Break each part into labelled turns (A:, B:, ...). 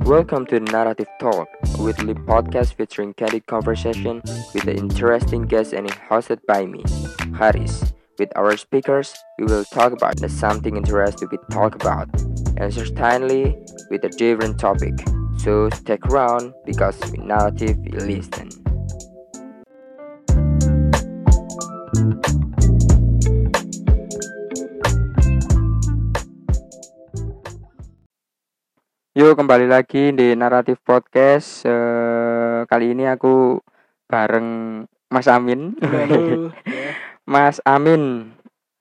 A: Welcome to the Narrative Talk, a weekly podcast featuring candid conversation with an interesting guest and hosted by me, Haris. With our speakers, we will talk about the something interesting to be talked about, and certainly with a different topic. So stick around because with narrative you listen. Yuk kembali lagi di Naratif Podcast. Eh, kali ini aku bareng Mas Amin.
B: Halo.
A: Mas Amin.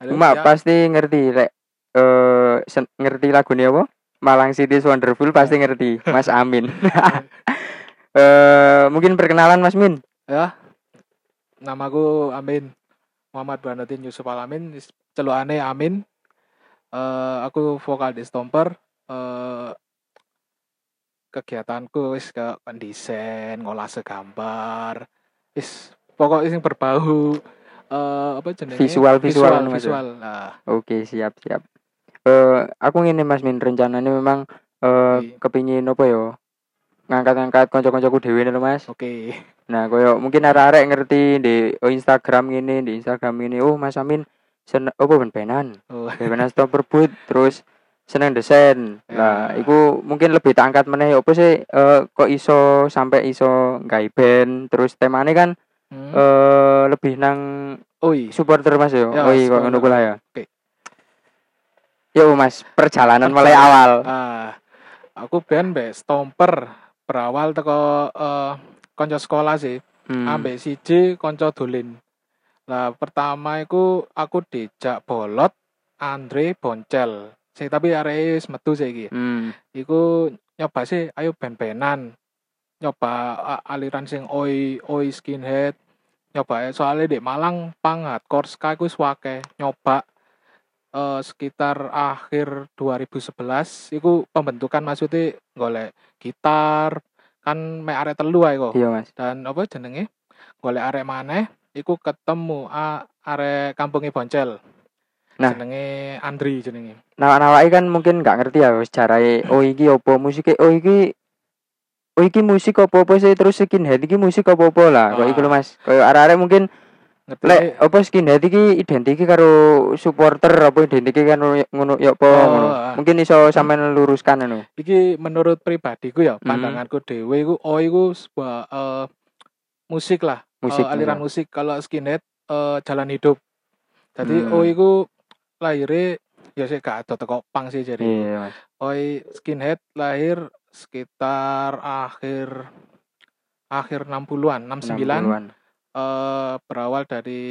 B: Halo.
A: Mak
B: siap.
A: pasti ngerti lek eh sen- ngerti lagunya apa? Malang City is Wonderful pasti ngerti Mas Amin. eh mungkin perkenalan Mas Min.
B: Namaku Amin. Muhammad Burhanuddin Yusuf Alamin, celukane Amin. Eh aku vokal di Stomper. Eh kegiatanku wis ke pendesain, ngolah segambar. Is pokoknya sing berbau eh apa jenenge?
A: Visual- visual
B: visual.
A: anu maksud.
B: visual. Nah,
A: Oke, siap, siap. Eh aku ngene Mas Min rencananya memang eh
B: Iya.
A: kepingin apa yo? Ngangkat-ngangkat kanca-kancaku dhewe lho Mas.
B: oke.
A: Nah, koyo mungkin arek-arek ngerti di oh, Instagram ini, di Instagram ini, oh Mas Amin seneng apa ben benan.
B: Oh,
A: Bebenas top berbut terus seneng desain.
B: Ya.
A: Lah, iku mungkin lebih tak angkat meneh opo sih eh, kok iso sampai iso gawe band terus temane kan
B: hmm.
A: eh, lebih nang
B: Oi.
A: supporter Mas yo.
B: Ya,
A: oh iya kok ngono
B: supporter.
A: ku lah ya.
B: Oke.
A: Yo Mas, perjalanan mulai
B: Perjalanan.
A: awal.
B: Ah, aku band be Stomper berawal teko eh konco sekolah sih.
A: Hmm.
B: ambek siji konco dolin lah pertama iku aku dijak bolot Andre Boncel sing tapi arek e wis metu saiki
A: Hmm.
B: iku nyoba sih ayo ben-benan nyoba a- aliran sing oi oi skinhead nyoba soalnya di Malang pang hardcore ska iku wis akeh. nyoba eh, sekitar akhir 2011 iku pembentukan maksudnya golek gitar kan mek arek telu ae kok
A: Iya Mas.
B: dan apa jenenge golek arek maneh iku ketemu a, arek kampunge Boncel
A: Nah.
B: jenenge Andri jenenge
A: Nawak-nawake kan mungkin nggak ngerti ya sejarah oh iki opo musike oh iki Oh iki musik opo-opo sih terus skinhead iki musik opo-opo lah. Kok iku lho
B: Ah.
A: Mas. Kayak arek-arek mungkin
B: ngerti
A: Lek apa skinhead iki identik karo supporter apa identik kan ngono ya apa
B: Oh,
A: ngono.
B: ah.
A: Mungkin iso sampean luruskan ngono.
B: iki menurut pribadiku ya
A: Hmm.
B: pandanganku dhewe iku oh iku sebuah eh, musik lah
A: Musik
B: eh, aliran
A: ngono.
B: musik kalau skinhead eh, jalan hidup jadi
A: Hmm.
B: oh iku lahirnya ya sih gak ada teko pang sih jadi
A: Iya, Mas.
B: Oi skinhead lahir sekitar akhir akhir 60-an, 69.
A: 60-an.
B: eh berawal dari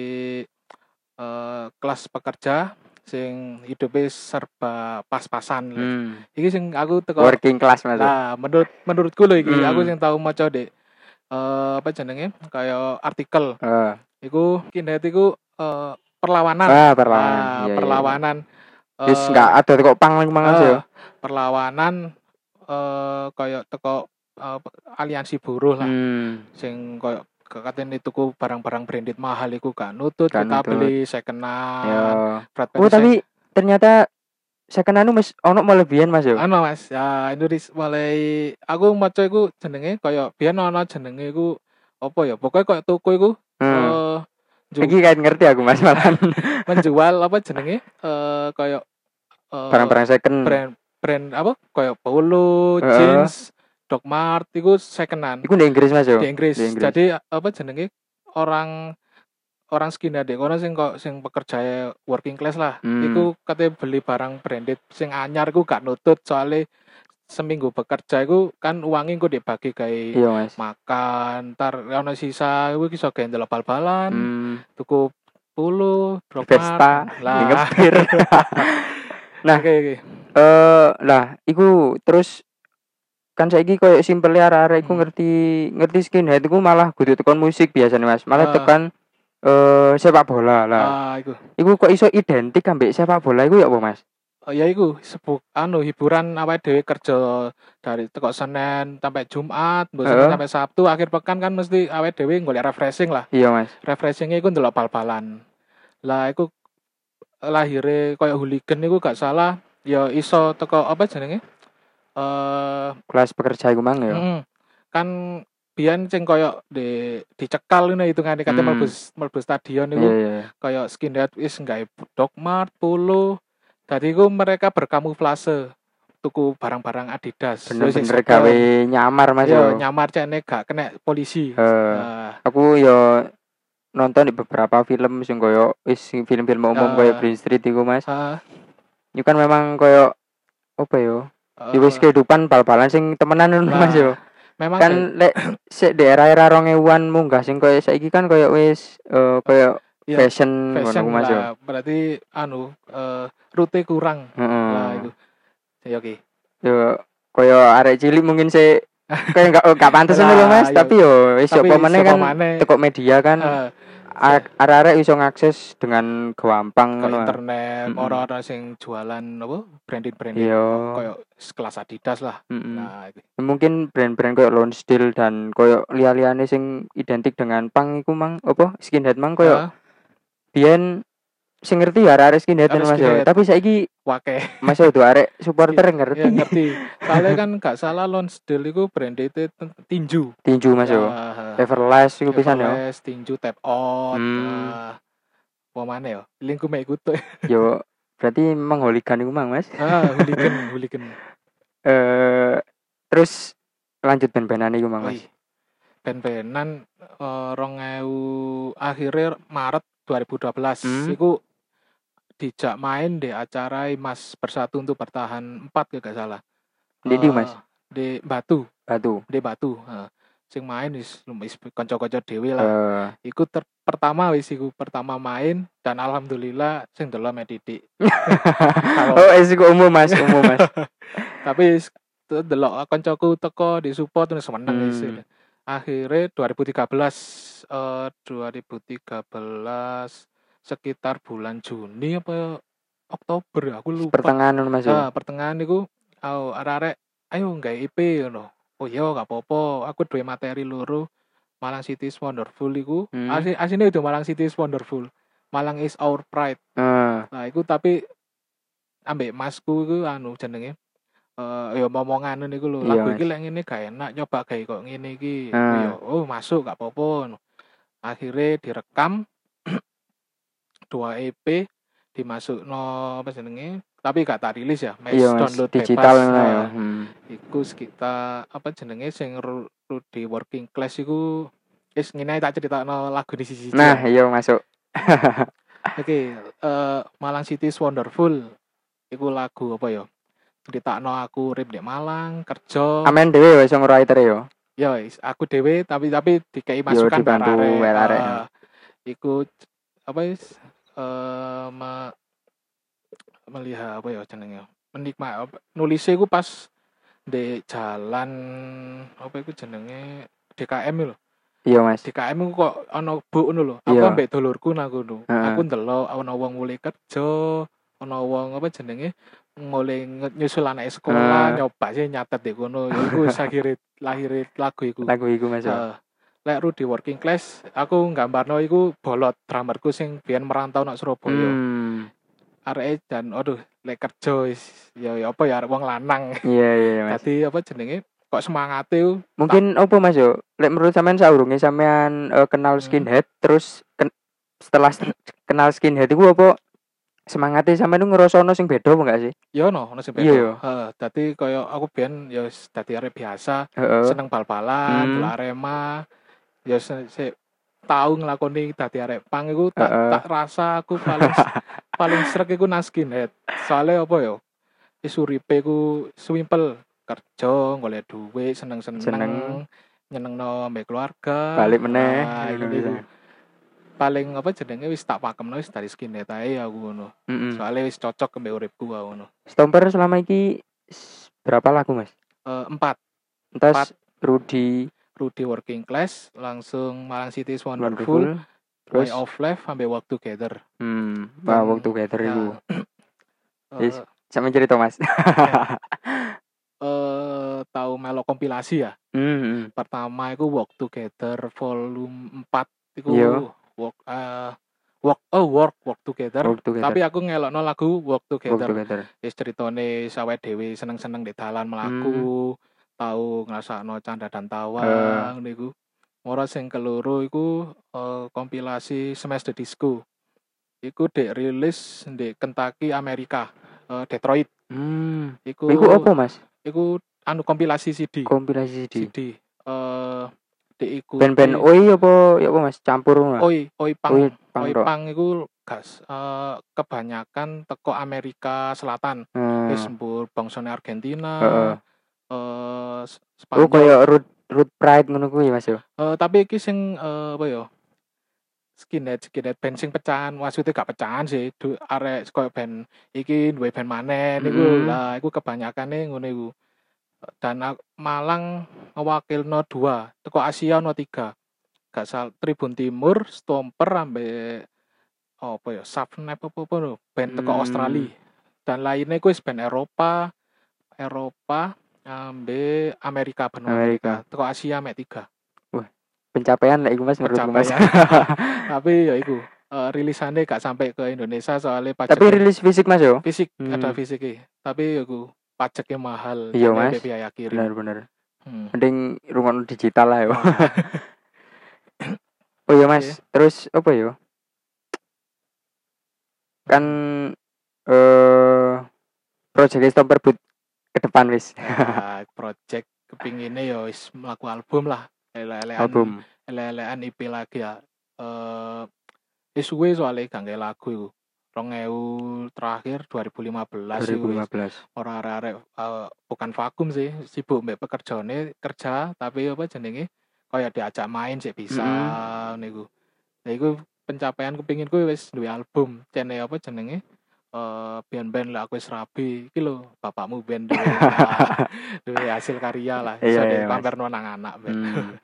B: eh kelas pekerja sing hidupnya serba pas-pasan. lho.
A: Hmm.
B: Iki sing aku teko
A: Working class Mas.
B: nah menurut menurutku loh iki
A: Hmm.
B: aku sing tahu maca dek eh apa jenenge kayak artikel
A: Heeh.
B: iku kinet iku eh, perlawanan.
A: Ah,
B: Nah,
A: perlawanan.
B: perlawanan. Eh,
A: Wis enggak ada kok pang mangan ya.
B: eh, perlawanan eh kayak teko eh, aliansi buruh lah
A: Hmm.
B: sing koyo kekaten tuku barang-barang branded mahal iku gak nutut
A: Gak
B: kita
A: nutut.
B: beli sekenan
A: Ya.
B: Fred
A: Oh, tapi ternyata second anu Mas ono melebihan Mas yo.
B: anu Mas ya itu dis- mulai aku maca iku jenenge koyo biyen ana jenenge iku apa ya pokoknya koyo toko iku
A: Hmm.
B: eh, ju-
A: Iki kayak ngerti aku Mas malahan.
B: Oh. eh, menjual apa jenenge eh koyo eh,
A: Barang-barang second.
B: brand brand apa koyo polo
A: Heeh.
B: jeans Doc Mart iku sekenan
A: Iku di Inggris Mas yo.
B: di Inggris.
A: Iya, Di Inggris.
B: Jadi apa jenenge orang orang skinhead dek kono sing kok sing pekerja working class lah.
A: Hmm.
B: Iku katanya beli barang branded sing anyar iku gak nutut soalnya seminggu bekerja iku kan uangnya iku dibagi kayak
A: Iya Mas.
B: makan, ntar ono sisa iku iso gendel bal-balan,
A: Hmm.
B: tuku puluh, drop
A: Vespa,
B: Lah,
A: Ngepir.
B: nah, oke oke.
A: eh lah iku terus kan saiki koyo simpel arek-arek iku
B: Hmm.
A: ngerti ngerti skinhead iku malah kudu tekan musik biasanya Mas malah
B: Ah.
A: tekan eh sepak bola lah
B: Ah, iku.
A: iku kok iso identik ambek sepak bola iku ya apa Mas
B: Oh, ya iku sebuk anu hiburan awake dhewe kerja dari teko Senin sampai Jumat, mbok Senin
A: Heeh.
B: sampai Sabtu akhir pekan kan mesti awake dhewe golek refreshing lah.
A: iya Mas
B: Refreshingnya iku ndelok bal-balan. Lah iku lahire koyo hooligan niku gak salah ya iso teko apa jenenge eh
A: kelas pekerja iku mang ya.
B: mm, kan biyen sing koyo di dicekal ngono hitungane kate
A: Hmm.
B: mlebu mlebu stadion niku
A: Iya iya.
B: kayak skinhead wis nggawe dog mart polo dadi iku mereka berkamuflase tuku barang-barang Adidas
A: Bener-bener
B: Terus sing
A: gawe
B: sekel,
A: nyamar Mas
B: yo,
A: yo.
B: nyamar cene gak kena polisi
A: Eh,
B: Nah,
A: aku yo nonton di beberapa film sing koyo wis sing film-film umum
B: Eh.
A: koyo Green Street iku Mas.
B: ah,
A: Ini kan memang koyo apa yo? Di wis
B: eh,
A: kehidupan bal-balan sing temenan ngono, Mas
B: Nah,
A: yo.
B: memang kan
A: Kan lek sik di era-era 2000-an munggah sing koyo saiki kan koyo wis eh, koyo
B: Iya,
A: fashion ngono
B: fashion
A: ku, Mas yo.
B: lah berarti anu eh, rute kurang
A: Heeh.
B: lah itu ya oke
A: yo koyo arek cilik mungkin sih kayak enggak enggak pantes ngono lho
B: Lah,
A: Mas,
B: yo.
A: tapi yo wis apa meneh
B: siapa
A: kan
B: maneh,
A: tekok media kan
B: eh,
A: ar- arek-arek iso ngakses dengan gampang
B: ke
A: ngono. ah.
B: internet
A: Mm-mm.
B: orang-orang sing jualan apa branding-branding
A: Iya. Mm.
B: kayak sekelas Adidas lah
A: mm-mm.
B: nah itu.
A: Mungkin brand-brand koyo Lonsdale dan koyo liya-liyane sing identik dengan punk iku mang apa skinhead mang koyo
B: Ah,
A: biyen sing ngerti ya arek skinhead
B: Arek
A: Mas yo.
B: skinhead.
A: Tapi saiki
B: wake
A: Mas yo arek supporter
B: ya
A: Iya, ngerti
B: ngerti soalnya kan gak salah Lonsdale itu brand itu tinju
A: tinju Mas yo.
B: Ah,
A: Everlast iku pisan ya? yo.
B: Everlast, tinju tap out
A: Hmm.
B: ah, apa mana ya lingku mek ikut
A: Yo berarti memang hooligan iku mang Mas.
B: ah hooligan hooligan
A: eh terus lanjut ben-benan iku Mang Mas.
B: Wih. ben-benan eh, rong ewu akhirnya Maret 2012
A: Hmm.
B: iku dijak main di acara Mas Bersatu untuk bertahan 4 ya gak salah
A: Di ndi,
B: Eh,
A: Mas?
B: di Batu
A: Batu.
B: di Batu ah. sing main wis wis kanca-kanca dhewe lah
A: Eh
B: iku ter- pertama wis iku pertama main dan alhamdulillah sing delok mek titik. Kalau-
A: oh, es iku umum Mas, umum Mas.
B: tapi s- te- delok kancaku teko disupport terus menang wis.
A: Hmm.
B: Akhirnya 2013 eh 2013 sekitar bulan Juni apa Oktober aku lupa.
A: Pertengahan ngono, Mas. ya?
B: Nah, Ah, pertengahan niku au arek ayo nggawe IP ngono. Oh iya gak apa-apa, aku duwe materi loro Malang City is Wonderful iku.
A: Hmm.
B: Asli asline udah Malang City is Wonderful. Malang is our pride.
A: Heeh.
B: Nah, iku tapi ambek masku iku anu jenenge eh ya momongan niku lho.
A: Iya,
B: Lagu iki
A: Mas.
B: lek ngene gak enak nyoba gawe kok ngene iki.
A: Ah.
B: Oh, ya, oh masuk gak apa-apa. ngono. Akhirnya direkam dua EP dimasukno apa jenenge? Tapi gak tak rilis ya, mes
A: Iya, Mas.
B: download
A: Digital
B: bebas.
A: ngono ya.
B: Nah,
A: Hmm.
B: iku sekitar apa jenenge sing ru- Rudy working class iku wis ngene ae tak critakno lagu di sisi
A: Nah, iya masuk.
B: Oh. Oke, eh, Malang City is Wonderful. Iku lagu apa ya? Ditakno aku urip di Malang, kerja.
A: Amen dhewe wis songwriter yo.
B: Ya, is- aku dhewe tapi tapi dikei masukan
A: dibantu
B: barare.
A: wae arek.
B: Ah, iku c- apa is eh me- melihat apa ya jenenge? Menikmati nulisnya iku pas di jalan apa iku jenenge DKM lho.
A: Iya, Mas.
B: DKM ku kok ana bu ngono lho. Aku
A: Iya.
B: ambek dulurku nang kono.
A: Heeh.
B: Aku ndelok ana wong mulai kerja, ana wong apa jenenge mulai nge- nyusul anak
A: Heeh.
B: sekolah, nyoba sih nyatet di kono. Ya iku akhire lahire lagu iku.
A: Lagu iku Mas. yo.
B: Heeh. Lek Rudy working class, aku nggambarno iku bolot drummerku sing biyen merantau nang Surabaya.
A: Hmm.
B: Areke dan aduh, lek kerja wis ya ya apa ya arek wong lanang.
A: Iya, iya, iya, Mas.
B: Dadi apa jenenge kok e, semangate ku
A: Mungkin opo Mas yo? Lek menurut sampean saurunge sampean eh, kenal
B: Hmm.
A: skinhead terus ken- setelah s- kenal skinhead iku opo semangatnya sampean ku ngrasakno sing beda apa enggak sih?
B: Ya no, ono sing
A: Iya, ya.
B: beda. Heeh, dadi kaya aku biyen ya wis dadi arek biasa,
A: Heeh.
B: seneng bal-balan,
A: Hmm.
B: bola Arema. Ya se, se- tau nglakoni dadi arek pang iku tak,
A: Heeh.
B: tak rasa aku paling paling srek iku nang skinhead. Soale apa ya? Wis uripe ku swimpel, kerja, golek duit, seneng-seneng.
A: Seneng.
B: nyenengno mbek keluarga.
A: Balik meneh. Iya,
B: Nah, iku
A: Ngono
B: niku. Paling apa jenenge wis tak pakemno wis dari skinhead ae aku ngono.
A: Mm-mm.
B: Soale wis cocok mbek uripku aku ngono.
A: Hmm, Stomper selama iki s- berapa lagu mas?
B: Eh, empat
A: Entas Rudy
B: Rudy Working Class, langsung Malang City is Wonderful,
A: Wonderful,
B: Way
A: terus
B: of Life, sampai Walk Together.
A: hmm, wah
B: Dan-
A: waktu Gather
B: Ya.
A: itu.
B: Eh,
A: Yes. Sama cerita mas.
B: eh, tahu melok kompilasi ya.
A: Hmm,
B: Pertama itu Walk Together volume 4 itu
A: Iya.
B: Walk eh, work oh work work together,
A: work together
B: tapi aku ngelokno lagu work
A: work
B: together
A: together
B: wis ceritane sawet dhewe seneng-seneng di dalan melaku
A: Hmm.
B: tau ngrasakno canda dan tawa
A: Eh.
B: niku ora sing keloro iku eh, kompilasi Smash the Disco iku dek rilis di Kentucky Amerika eh, Detroit
A: hmm
B: iku
A: iku apa mas
B: iku anu kompilasi CD
A: kompilasi di
B: CD eh dek iku
A: band-band oi apa ya apa mas campur mas
B: oi oi pang
A: oi pang
B: oi
A: rock
B: pang iku gas eh, kebanyakan teko Amerika Selatan
A: Eh,
B: wis mbur bangsane Argentina
A: Heeh.
B: eh, S-
A: oh
B: Spanyol
A: kayak root root pride ngono kuwi mas yo
B: Eh, tapi iki sing eh, apa ya skinhead skinhead band sing pecahan maksudnya gak pecahan sih du, arek koyo band iki duwe band maneh niku
A: Mm-mm.
B: lah iku kebanyakan ngono iku dan ak- Malang wakil no 2 teko Asia no 3 gak sal Tribun Timur Stomper ambe apa ya Subnap apa apa no, band teko
A: Hmm.
B: Australia dan lainnya kuis band Eropa Eropa ambe Amerika benua
A: Amerika.
B: teko Asia mek 3
A: pencapaian lah iku mas menurutku mas
B: tapi ya itu eh, rilisannya gak sampai ke Indonesia soalnya pajak
A: tapi rilis fisik mas yo
B: fisik
A: Hmm.
B: ada fisiknya tapi ya ku pajaknya mahal
A: Iya,
B: karena
A: Mas.
B: biaya kirim
A: benar-benar
B: Hmm.
A: mending rungono digital lah yo Oh iya mas, terus apa yo? Kan eh proyek Stomper Boot ke depan wis
B: Nah, project kepinginnya ya wis melaku album lah elek-elekan
A: album.
B: elek-elekan IP lagi ya eh wis suwe soalnya gak nggak lagu itu 2000 terakhir 2015 iku wis.
A: 2015.
B: orang-orang eh, bukan vakum sih sibuk mbak pekerjaannya kerja tapi apa jenenge kayak diajak main sih bisa niku nah iku pencapaian kepingin gue wis duwe album cene apa jenenge eh band-band lah aku wis rabi iki lho bapakmu band duwe, duwe hasil karya lah
A: Iya,
B: iso
A: iya, Mas.
B: pamerno nang anak band
A: Hmm.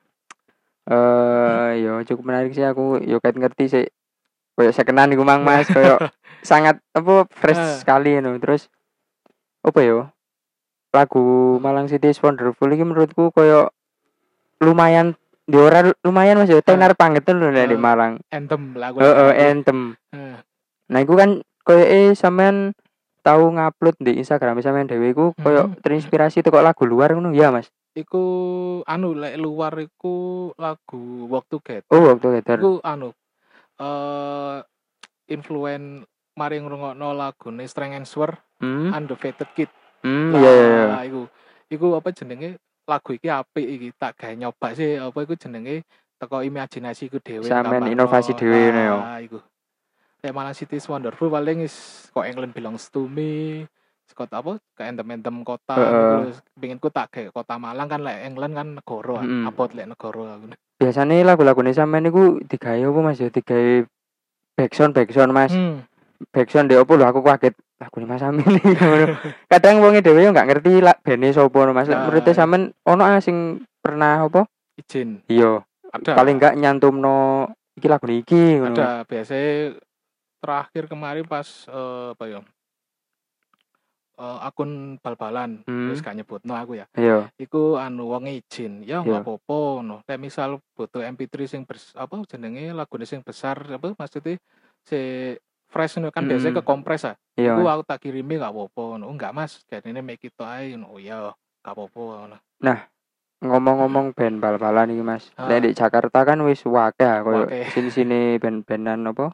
A: Eh yo cukup menarik sih aku yo ket ngerti sih. Kayak sekenan iku mang Mm, mas, kayak sangat apa
B: Eh.
A: fresh sekali no. Terus apa yo? Lagu Malang City is Wonderful ini menurutku kayak lumayan di ora lumayan mas yo tenar pangetan lho nek di
B: Eh.
A: Malang.
B: anthem lah aku
A: Heeh, anthem.
B: Eh,
A: Nah, iku kan koyo eh sampean tahu ngupload di Instagram sampean dhewe iku koyo
B: Mhm.
A: terinspirasi teko lagu luar ngono ya, Mas.
B: iku anu lek luar iku lagu waktu get
A: Oh, waktu header.
B: Iku anu eh influen mari ngrungokno lagune Strength and Sword
A: Hmm.
B: Undefeated Kid.
A: Hmm, iya iya iya.
B: Lah, iku. Iku apa jenenge lagu iki apik iki tak gawe nyoba sih apa iku jenenge teko imajinasiku dhewe.
A: Sampean
B: nggambarno.
A: inovasi dhewe ngene ya. yo.
B: Nah, iku. Lek Malang City is Wonderful paling is kok England belongs to me. Kota apa? Ke entem-entem kota.
A: Heeh.
B: Uh, Pengen ku tak gawe kota Malang kan lek England kan negara.
A: Mm-mm.
B: Abot lek negara.
A: Biasane lagu-lagune sampean iku digawe apa Mas ya? Digawe backsound backsound Mas.
B: Hmm.
A: Backsound dhewe opo lho aku kaget. Lagune Mas Amin iki ngono. Kadang wonge dhewe yo gak ngerti lak bene sapa no Mas. Lek
B: Nah.
A: menurute sampean ono ah sing pernah apa?
B: Izin.
A: Iya,
B: Ada.
A: paling gak nyantumno iki lagu iki ngono.
B: ada biasanya terakhir kemarin pas eh, apa ya eh, akun bal-balan
A: Hmm.
B: terus gak nyebut no aku ya
A: Iya.
B: iku anu wong izin ya
A: Iya.
B: nggak apa-apa no Lek misal butuh MP3 sing bers, apa jenenge lagune sing besar apa maksudnya si fresh no, kan biasanya
A: Mm-mm.
B: kekompres ah
A: Iya.
B: iku
A: Hmm. Mas.
B: aku tak kirimi gak apa-apa no enggak mas kayak ini make it ae no oh ya gak apa-apa no
A: ngomong-ngomong band bal-balan iki Mas.
B: Ah.
A: Nek di Jakarta kan wis wakeh ah, koyo
B: Wakeh.
A: sini-sini band-bandan apa
B: Iya.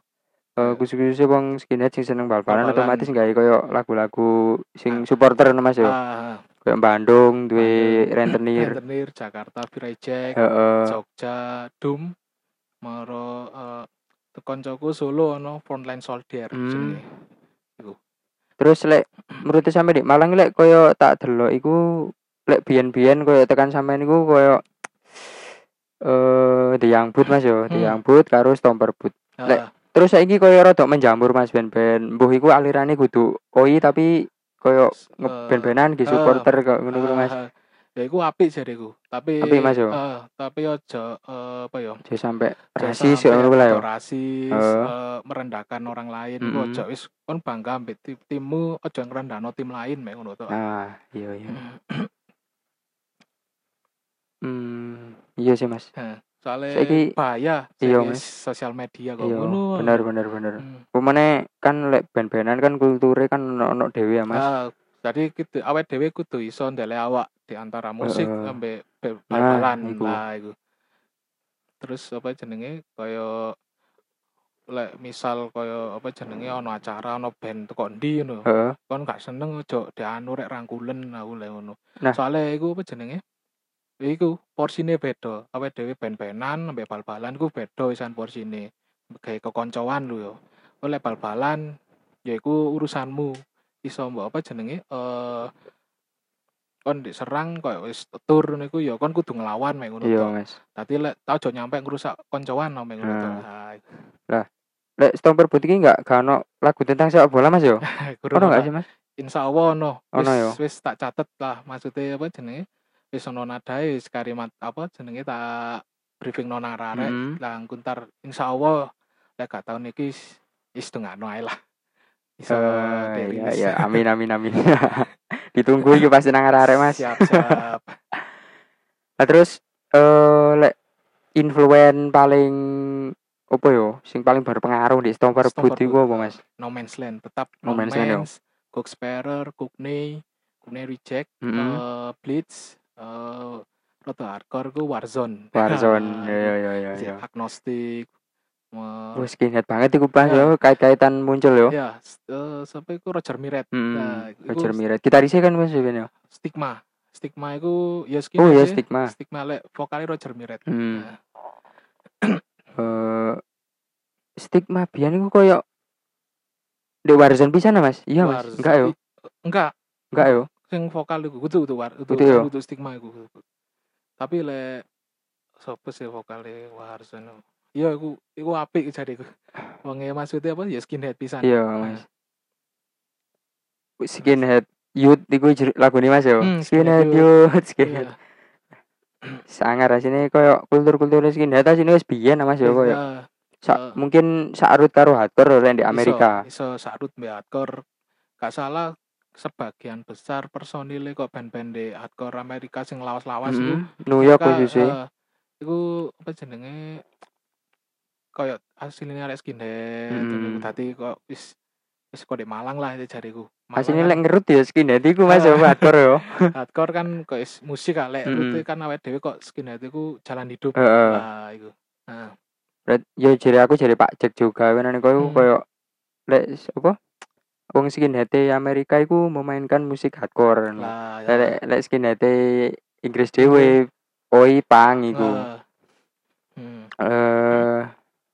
A: eh khusus-khusus wong skinhead sing seneng bal-balan
B: Bal-balan.
A: otomatis gawe koyo lagu-lagu sing supporter no Mas yo.
B: ah
A: Koyo Bandung duwe Ya. Rentenir.
B: Rentenir Jakarta Virajek
A: Heeh.
B: Jogja Dum maro eh koncoku Solo ono frontline soldier
A: Hmm.
B: jenenge.
A: Terus lek menurut sampe di Malang lek koyo tak delok iku lek biyen-biyen koyo tekan sampean iku koyo eh The Young Boot Mas yo, The Young
B: Hmm.
A: Boot karo Stomper Boot. Lek,
B: Ah,
A: terus saiki koyo rodok menjamur Mas ben-ben. Mbuh iku alirane kudu oi tapi koyo
B: s- eh,
A: ngeband-bandan ki
B: eh,
A: supporter kok ngono kuwi, Mas.
B: ah, Ya iku apik jariku, tapi
A: Apik, Mas, yo.
B: eh, tapi aja eh, apa ya?
A: Aja sampe
B: aja
A: rasis
B: sampe
A: ya ngono kuwi lah yo.
B: rada Rasis
A: Eh.
B: eh, merendahkan orang lain iku
A: Mm-mm.
B: aja wis kon bangga ambek tim- timmu aja ngrendahno tim lain mek ngono to.
A: Nah, iya iya. Hmm, iya sih Mas.
B: Heeh. soalnya
A: Saiki-
B: bahaya
A: Iya,
B: saiki
A: Mas.
B: sosial media kok
A: Iya,
B: ngono.
A: bener bener bener.
B: Hmm.
A: Pemane kan lek ben-benan kan kulture kan ono-ono dhewe ya, Mas.
B: Ah, jadi kita awet dhewe kudu iso ndelek awak di antara musik
A: Heeh.
B: ambek
A: Nah,
B: be- bal-balan
A: iku.
B: lah iku. Terus apa jenenge kaya lek misal kaya apa jenenge ana acara ana band teko ndi ngono.
A: Heeh.
B: Kon gak seneng ojo dianu rek rangkulen aku lek ngono.
A: Nah.
B: Soale iku apa jenenge? Iku porsine beda. Awet dhewe ben-benan ambek bal-balan iku beda isan porsine. Gawe kekoncoan lho yo. Oleh bal-balan ya iku urusanmu. iso mbok apa jenenge eh kon diserang koyo wis tur ngono iku ya kon kudu nglawan mek ngono
A: Iya,
B: to.
A: Mas.
B: Dadi lek tau aja nyampe ngrusak koncoan no, mek ngono to.
A: Nah. Lek Stomper Boot iki enggak gak ono lagu tentang sepak bola, Mas yo.
B: Ah, iku
A: Ono
B: ora.
A: enggak sih, Mas?
B: Insyaallah ono.
A: Ono
B: Wis
A: ya.
B: wis tak catet lah maksudnya apa jenenge? Wis ono nadae wis kalimat apa jenenge tak briefing nang arek.
A: Heeh.
B: Lah engko ntar insyaallah lek gak taun iki is- is dongakno ae lah. Iso
A: Eh, ya,
B: dirilis.
A: ya, amin, amin, amin. Ditunggu iki pasti nang arek Mas.
B: Siap, siap.
A: Nah, terus eh lek influen paling opo yo sing paling berpengaruh di Stomper
B: Stomper
A: Boot iku
B: Boot.
A: apa, Mas?
B: No Man's Land tetap
A: No Man's Land, yo.
B: Cook Sparer, Cookney, Cookney Reject,
A: Heeh.
B: eh, Blitz, eh Roto Hardcore ku Warzone.
A: Warzone, Iya, yo
B: Ah,
A: yo yo yo, yo.
B: Jack Agnostic. eh,
A: Wah, skinhead banget iku Mas
B: Ya.
A: yo, kait-kaitan muncul yo. Hmm.
B: ya, s- eh, siapa iku Roger Miret. Nah,
A: Heeh.
B: iku
A: Roger Miret. Gitarisnya kan Mas Steven, yo.
B: Stigma. Stigma iku ya skin
A: Oh ya
B: aja.
A: stigma.
B: Stigma lek vokale Roger Miret.
A: Hmm.
B: Nah,
A: Eh, stigma biyen iku koyo di Warzone pisan ya, Mas? Iya, Mas.
B: Warzone-
A: Enggak yo.
B: Enggak,
A: Enggak yo.
B: sing vokal iku kudu kudu war kudu
A: Kudu ya?
B: kudu stigma iku kudu. tapi le sapa sih vokale Waharsono iya iku iku apik jare iku wonge maksudnya apa ya skinhead pisan
A: Iya, Mas. Skinhead Youth iku jer- lagune Mas yo.
B: Hmm,
A: Skinhead
B: Skinhead
A: Youth,
B: Iya.
A: skinhead. Sangar rasine koyo kultur-kultur skinhead asine wis biyen nah, Mas yo koyo.
B: Iya,
A: Sa-
B: eh.
A: mungkin sakrut karo hardcore lek ya? di Amerika.
B: iso, iso sarut mbek hardcore gak salah sebagian besar personile kok band-band di hardcore Amerika sing lawas-lawas iku
A: Mm-mm. Hmm, New York
B: Ka-
A: khususnya.
B: eh, iku apa jenenge koyo asline arek skinhead
A: Hmm.
B: hmm. dadi kok wis wis kok di Malang lah itu jariku. Malang
A: Asine
B: kan
A: lek ngerut ya skinhead iku Mas yo
B: Ah.
A: hardcore yo.
B: hardcore kan kok is musik kan lek
A: Hmm.
B: rute kan awake dhewe kok skinhead iku jalan hidup.
A: Heeh.
B: Nah, iku. Nah,
A: Red, yo jere aku jere Pak Jack juga wenane koyo
B: Hmm.
A: koyo lek s- apa? Wong skinhead Amerika iku memainkan musik hardcore. Nah,
B: lah ya.
A: Lek lek skinhead Inggris dhewe oi pang iku.
B: Nah. Hmm.
A: Eh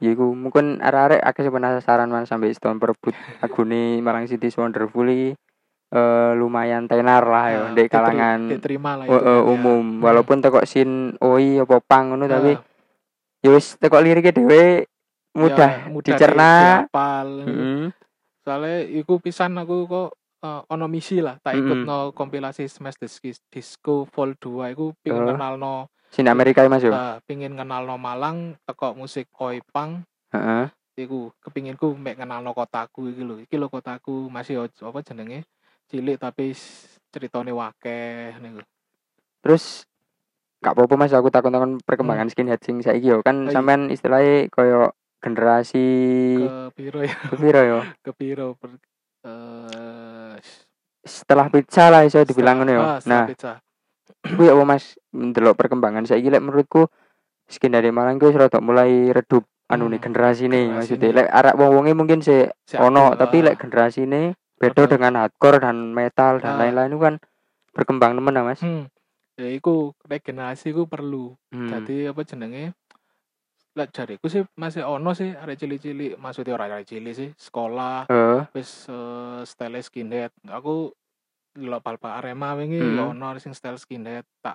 A: ya iku mungkin arek-arek akeh sing penasaran man sampai Stone Perbut agune Malang City Wonderful iki eh, lumayan tenar lah yo
B: Nah,
A: di
B: diteri-
A: kalangan
B: diterima lah
A: eh,
B: Ah, itu.
A: eh,
B: ya.
A: umum
B: Hmm.
A: walaupun tekok sin oi apa pang ngono tapi
B: Nah,
A: ya wis tekok liriknya dhewe
B: ya,
A: mudah
B: mudah
A: dicerna. Hmm.
B: di- dihafal.
A: Heeh.
B: soalnya iku pisan aku kok eh, ono misi lah tak
A: Mm-mm.
B: ikut no kompilasi Smash Dis- Disco Vol 2 iku pingin
A: Oh.
B: kenal no
A: Sin Amerika ya, Mas
B: Ah.
A: yo.
B: pingin kenal no Malang teko musik oi pang
A: Heeh.
B: iku kepinginku mek kenal no kotaku iki lho iki lho kotaku masih o- apa jenenge cilik tapi s- ceritane wakeh niku
A: Terus gak apa-apa Mas aku takon-takon
B: Hmm.
A: perkembangan skinhead sing saiki yo kan
B: Oh, iya.
A: sampean istilahnya koyo generasi
B: ke piro ya
A: kepiro yo
B: ke piro per, eh, s-
A: setelah pizza lah iso dibilang ngono
B: setelah-
A: yo.
B: ah, setelah
A: Nah,
B: pizza.
A: kuwi apa Mas ndelok perkembangan saiki lek menurutku skinhead di Malang kuwi wis rada mulai redup anu nih
B: Hmm,
A: generasi nih
B: generasine.
A: maksudnya lek arek wong-wonge mungkin sih
B: Si
A: ono
B: Abdul,
A: tapi
B: ah,
A: lek generasi ini beda
B: Betul.
A: dengan hardcore dan metal dan
B: Ah.
A: lain-lain itu kan berkembang temen lah mas
B: hmm, ya iku regenerasi iku perlu
A: Hmm.
B: jadi apa jenenge lek jariku sih masih ono sih arek cilik-cilik maksudnya orang arek cilik sih sekolah
A: Eh,
B: wis eh, style skinhead aku delok bal bal Arema wingi
A: Hmm.
B: ya ono arek sing style skinhead tak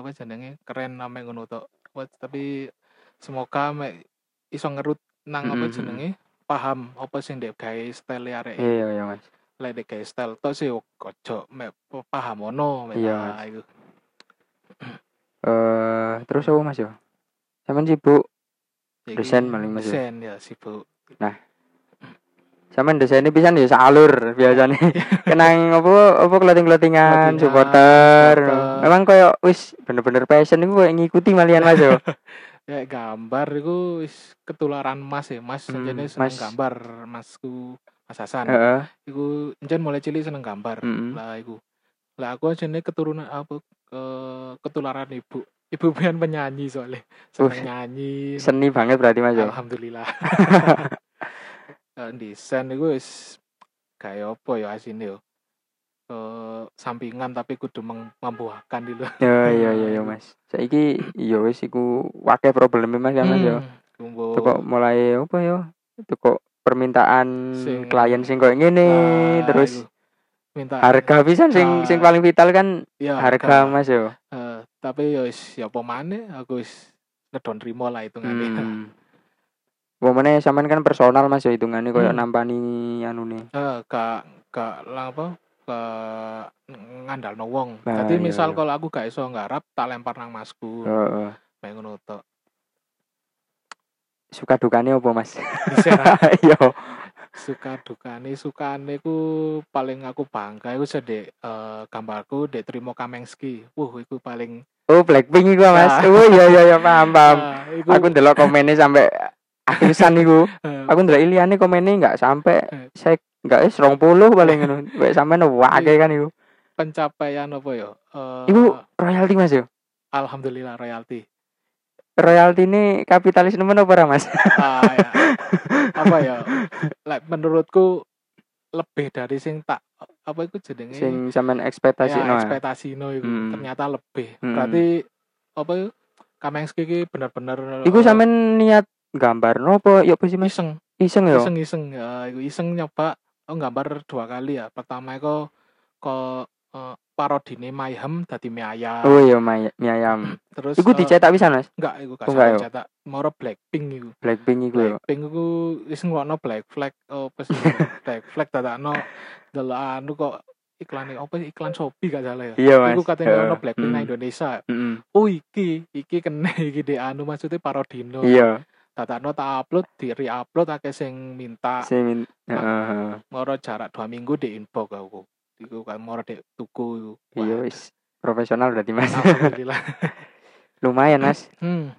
B: apa jenenge keren name ngono tok Apa- tapi semoga mek iso ngerut nang apa
A: Mm-mm.
B: jenenge paham apa sing dek gawe style e arek
A: iya iya, iya mas
B: lek dek gawe style tok sih ojo mek paham ono mek
A: Iya,
B: tak iku.
A: Eh, terus apa mas yo Sampean sibuk
B: Jadi,
A: Desain paling masuk.
B: desain ya sibuk
A: Sampean desainnya pisan ya alur biasanya kenang apa apa clothing clothingan
B: Clothingan,
A: supporter
B: supporter.
A: memang koyo wis bener-bener passion itu koyo ngikuti malian mas yo
B: kayak gambar iku wis ketularan Mas ya. Mas
A: Hmm,
B: jenenge seneng
A: Mas.
B: gambar, Masku Mas Hasan.
A: Heeh. Hmm,
B: Iku encen mulai cilik seneng gambar.
A: Mm-mm.
B: Lah iku. Lah aku jenenge keturunan apa ke ketularan ibu. Ibu pian penyanyi soalnya. Seneng
A: Wih.
B: nyanyi.
A: Seni banget berarti Mas ya.
B: Alhamdulillah. Eh, desain iku wis kayak apa ya asine yo. Eh sampingan tapi kudu meng- membuahkan dulu.
A: Ya ya ya ya Mas. Saiki ya wis iku akeh probleme Mas ya Mas ya.
B: Kumbo.
A: Teko mulai apa ya? Teko permintaan
B: Sing-
A: klien sing koyo ngene
B: Nah,
A: terus
B: iku. minta
A: harga pisan sing
B: Ah.
A: sing paling vital kan
B: ya,
A: harga Mas ya.
B: Eh, tapi yo wis ya apa maneh aku wis ngedon rimo lah hitungane.
A: Hmm. Womane sampean kan personal Mas ya hitungane koyo
B: Hmm.
A: nampani anune.
B: Eh, gak gak lang apa gak ngandalno wong.
A: Nah,
B: Dadi
A: iya,
B: misal
A: iya. Oh.
B: kalau aku gak iso nggarap tak lempar nang masku.
A: Heeh.
B: Kayak ngono tok.
A: Suka dukane apa Mas?
B: Disera-
A: Yo.
B: suka dukane sukane ku paling aku bangga iku sedek eh, gambarku dek Trimo Kamengski. Wuh iku paling
A: Oh, Blackpink iku Mas.
B: Ah.
A: Oh iya iya iya paham paham.
B: Ah, iku
A: Aku ndelok komennya sampai akhiran iku.
B: eh,
A: Aku ndelok iliane komennya enggak sampai
B: Eh.
A: saya enggak wis 20 paling ngono. Wek sampean wake kan iku.
B: pencapaian apa yo? Eh,
A: Iku- Royalti Mas yo.
B: alhamdulillah royalti.
A: Royalti ini kapitalis nemen apa ora Mas?
B: Ah, ya. apa ya like, menurutku lebih dari sing tak apa itu jenenge
A: Sing sampean ekspektasi
B: ya,
A: no. ah.
B: ekspektasi no itu
A: Mm.
B: ternyata lebih
A: Mm.
B: berarti apa itu Kamengski iki bener-bener
A: Iku
B: eh,
A: sampean niat gambar nopo yo apa sih Mas?
B: iseng
A: Iseng yo.
B: iseng iseng ya iku iseng nyoba aku gambar dua kali ya pertama itu kok eh, parodine Mayhem dadi mie ayam
A: Oh iya may- mie ayam.
B: Ah. terus
A: Iku
B: eh,
A: dicetak pisan Mas.
B: enggak iku gak
A: Oh, enggak, yo.
B: sampe cetak moro Blackpink iku
A: Blackpink iku yo.
B: Blackpink iku wis ngrungokno Black Flag apa sih Black Flag dadakno delok anu kok iklan apa sih iklan Shopee gak salah ya.
A: Iya Mas.
B: Iku katanya ngrungokno
A: Heeh.
B: Blackpink nang
A: Mm.
B: Indonesia.
A: Mm-mm.
B: Oh iki, iki kena iki dek anu maksudnya parodino.
A: Iya.
B: Dadakno tak upload, di re-upload akeh sing minta
A: Sing eh, min- heeh.
B: moro jarak 2 minggu di inbox aku. Iku kan moro dek tuku iku. Wah,
A: Iya wis profesional berarti Mas.
B: Alhamdulillah.
A: Lumayan Mas.
B: Hmm,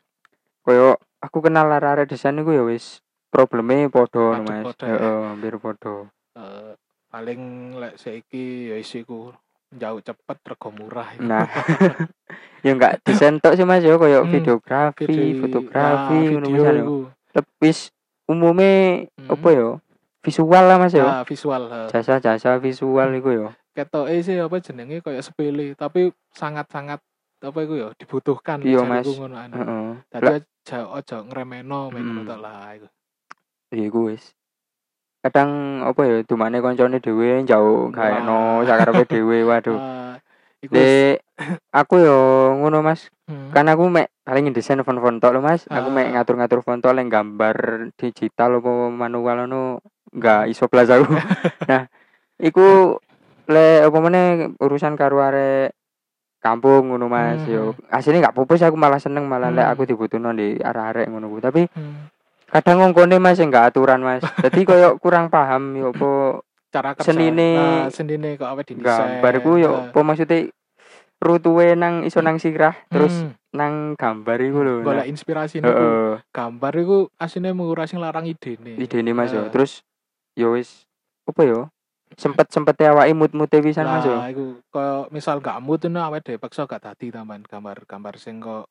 A: Koyo aku kenal arek-arek desain iku ya wis probleme padha no,
B: Padha-
A: Mas.
B: padha, ya.
A: Heeh, hampir padha.
B: eh, paling lek saiki ya isiku jauh cepet rego murah. iku.
A: Nah. ya enggak desain tok sih Mas ya koyo
B: Hmm.
A: videografi,
B: Video-
A: fotografi
B: ah,
A: ngono
B: video
A: misal ya.
B: iku.
A: Lepis umume
B: Hmm.
A: apa ya? Visual lah Mas ya.
B: Ah, visual. eh.
A: Jasa-jasa visual iku ya.
B: Ketoke sih apa jenenge kayak sepele, tapi sangat-sangat apa iku ya dibutuhkan
A: Iya,
B: jariku
A: Mas.
B: ngono anu.
A: Heeh.
B: Dadi aja aja ngremeno men ngono
A: Hmm.
B: tok lah iku.
A: Iya iku wis. Kadang apa ya dumane koncone dhewe jauh gawe no
B: Wah.
A: sakarepe dhewe waduh.
B: Ah, iku
A: Dek,
B: wis-
A: aku yo ngono Mas.
B: Hmm.
A: Kan aku mek paling ngedesain font-font tok lho Mas. Aku
B: Ah.
A: mek ngatur-ngatur font tok lek gambar digital apa manual ngono enggak iso blas aku. nah, iku le apa meneh urusan karo arek kampung ngono Mas
B: Hmm.
A: yo. Asline enggak pupus aku malah seneng malah lek
B: Hmm.
A: aku dibutuhno di arek-arek ngono ku. Tapi
B: Hmm.
A: kadang ngongkone Mas enggak aturan Mas. Jadi koyo kurang paham yo apa
B: Cara kerja.
A: Senine-
B: Ah, senine kok apa didesain.
A: gambarku yo
B: Ah,
A: apa maksudnya rutuwe nang iso nang sirah terus
B: hmm,
A: nang gambar iku lho.
B: golek inspirasi
A: Nah,
B: niku.
A: heeh,
B: Gambar iku asine mengurasi larang idene.
A: idene Mas yo.
B: Nah.
A: Terus yo wis apa yo? Sempet-sempete awake mut-mute pisan Mas yo.
B: Nah, iku koyo misal gak mood ngono awake dhewe paksa gak dadi tambahan gambar-gambar sing kok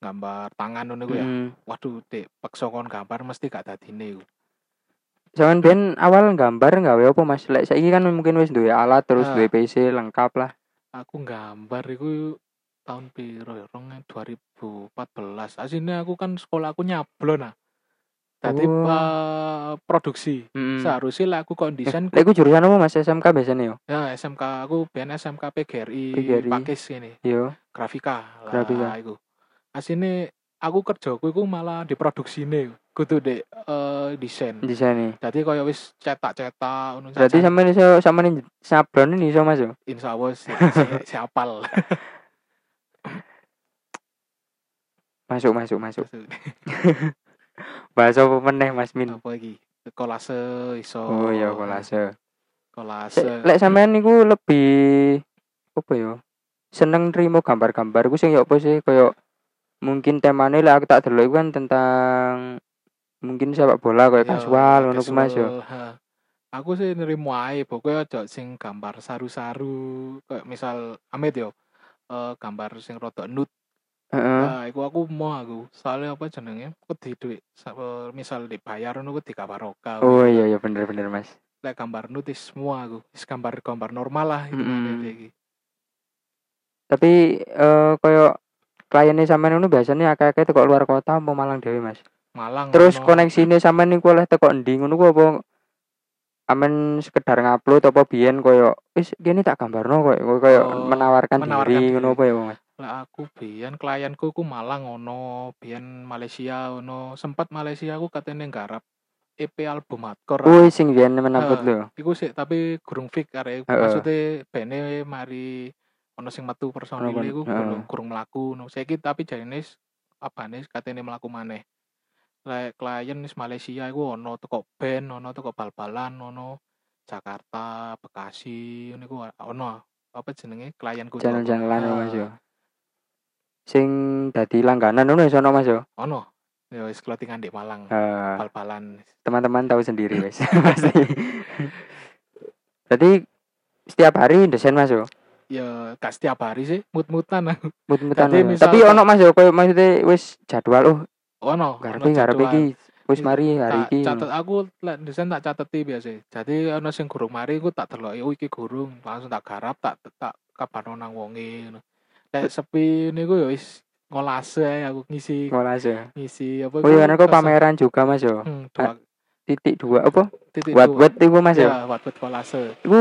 B: gambar tangan ngono iku ya.
A: Mm.
B: Waduh, dek paksa kon gambar mesti gak dadine iku.
A: Sampeyan ben awal gambar gawe apa Mas? Lek saiki kan mungkin wis duwe alat terus
B: Ah.
A: duwe PC lengkap lah.
B: Aku gambar iku tahun piro ya? Rong- 2014. Asine aku kan sekolah aku nyablon nah. Dadi
A: Oh.
B: eh, produksi. Seharusnya lah aku kok
A: Hmm.
B: desain
A: Lek iku jurusan apa Mas? SMK biasanya yo.
B: ya SMK aku ben SMK PGRI,
A: PGRI.
B: pakis ini
A: Yo.
B: grafika lah
A: Grafika.
B: iku. Asine aku kerjaku iku malah diproduksine kudu dek eh, desain.
A: Desain
B: Dadi kaya wis cetak-cetak ngono
A: Hmm. Berarti
B: saja.
A: sampean iso sampean sablon ini iso Mas yo.
B: insya Allah si, si- si apal.
A: Masuk masuk masuk.
B: Terus,
A: Bahasa apa meneh Mas Min?
B: apa iki kolase iso
A: Oh, iya kolase.
B: kolase
A: Sek- lek sampean niku lebih apa ya? Seneng nrimo gambar-gambar ku sing ya apa sih kaya mungkin temane lah aku tak delok iku kan tentang mungkin sepak bola kayak
B: Iya,
A: kasual ngono ku Mas ya. yo.
B: casual, ha. Aku sih nerimo ae, pokoknya aja sing gambar saru-saru, kayak misal Amit yo. eh, gambar sing rodok nude.
A: Heeh.
B: Nah, iku aku mau aku. Soalnya apa jenenge? Wedi dhuwit. sa- eh, Misal dibayar ngono kudu kabaroka.
A: Oh iya iya bener bener Mas.
B: Lek gambar nude semua aku. Wis gambar-gambar normal lah itu
A: Mm-mm.
B: iki.
A: Tapi eh koyo kliennya sampean ngono biasanya akeh-akeh teko luar kota apa Malang dhewe Mas.
B: Malang.
A: Terus
B: ono.
A: koneksine sampean niku oleh teko endi ngono ku apa amen sekedar ngupload apa biyen koyo wis kene tak gambarno koyo koyo
B: Oh,
A: menawarkan,
B: menawarkan
A: diri
B: diri.
A: ngono apa ya Mas.
B: Lah aku biyen klienku ku Malang ono, biyen Malaysia ono. Sempat Malaysia aku katene nggarap EP album hardcore.
A: Kuwi sing biyen menaput
B: Eh,
A: lho.
B: Iku sih tapi gurung fix karek
A: Heeh.
B: maksudnya bene mari ono sing metu personil
A: Ono kon-
B: iku
A: heeh.
B: gurung, gurung mlaku no. Saiki tapi jarine wis apane katene mlaku maneh. Lek klien wis Malaysia iku ono teko band, ono teko bal-balan, ono Jakarta, Bekasi, niku ono apa jenenge klienku. tuh.
A: Jalan-jalan lho, ya, Mas
B: Eh,
A: yo. Sing dadi langganan ngono iso ono Mas yo.
B: Ono. Ya wis klotingan di Malang,
A: Eh,
B: Ah. bal-balan.
A: teman-teman tahu sendiri wes pasti berarti setiap hari desain mas yo
B: Ya gak setiap hari sih, mut-mutan aku.
A: mut-mutan
B: Jadi
A: Mas, yo.
B: misal-
A: tapi ono mas yo koyo maksudnya wes jadwal oh
B: Ono. ono
A: ngarepe ngarepe
B: jadwal.
A: iki wes mari hari
B: tak
A: iki
B: catet aku lek desain tak cateti biasa jadi ana sing gurung mari ku tak deloki oh iki gurung langsung tak garap tak tak kabarno nang wonge ngono lek sepi niku ya wis ngolase ae aku ngisi
A: ngolas yo
B: ngisi apa
A: oh iya ono kok
B: kesen-
A: pameran juga mas yo
B: hmm, dua,
A: titik dua apa
B: titik
A: buat
B: dua.
A: buat iku mas yo
B: ya buat buat kolase
A: iku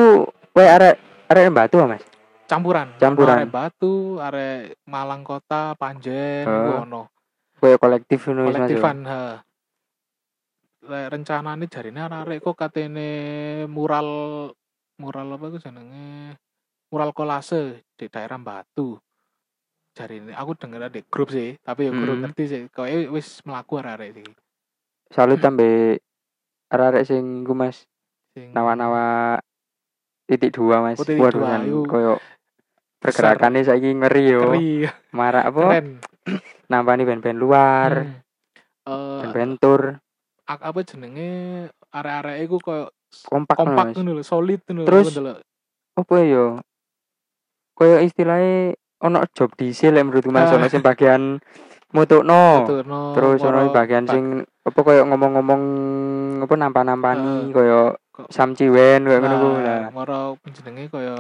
A: wae arek arek batu ah, mas
B: campuran
A: Campuran.
B: arek batu arek Malang kota Panjen iku
A: Heeh.
B: ono
A: koyo kolektif ngono wes, mas yo
B: kolektifan ha lek rencanane jarine arek kok katene mural mural apa iku jenenge mural kolase di daerah Batu jarine aku denger di grup sih tapi ya kurang
A: Mm.
B: ngerti sih kowe wis mlaku arek iki
A: salut tambe arek sing iku mas
B: Sing-
A: nawa-nawa titik dua mas
B: Oh, titik
A: waduh
B: dua,
A: kan
B: iku.
A: koyo pergerakannya saiki ngeri yo
B: Ngeri,
A: marak apa
B: keren
A: nampani band-band luar,
B: Hmm. Eh,
A: band-band tour,
B: ak- apa jenenge arek-arek iku koyo
A: kompak,
B: kompak
A: Mas.
B: ngono lho solid ngono lho,
A: Terus,
B: aku ndelok.
A: Apa ya? Koyo istilahnya ono job DC lek menurutku Mas
B: Ah.
A: ono sing bagian mutokno.
B: Turno,
A: Oh. Terus ono
B: moro,
A: bagian
B: bag-
A: sing apa koyo ngomong-ngomong apa nampan-nampani koyo
B: Ko-
A: samciwen koyo ngono kuwi lah.
B: Nah, moro jenenge kaya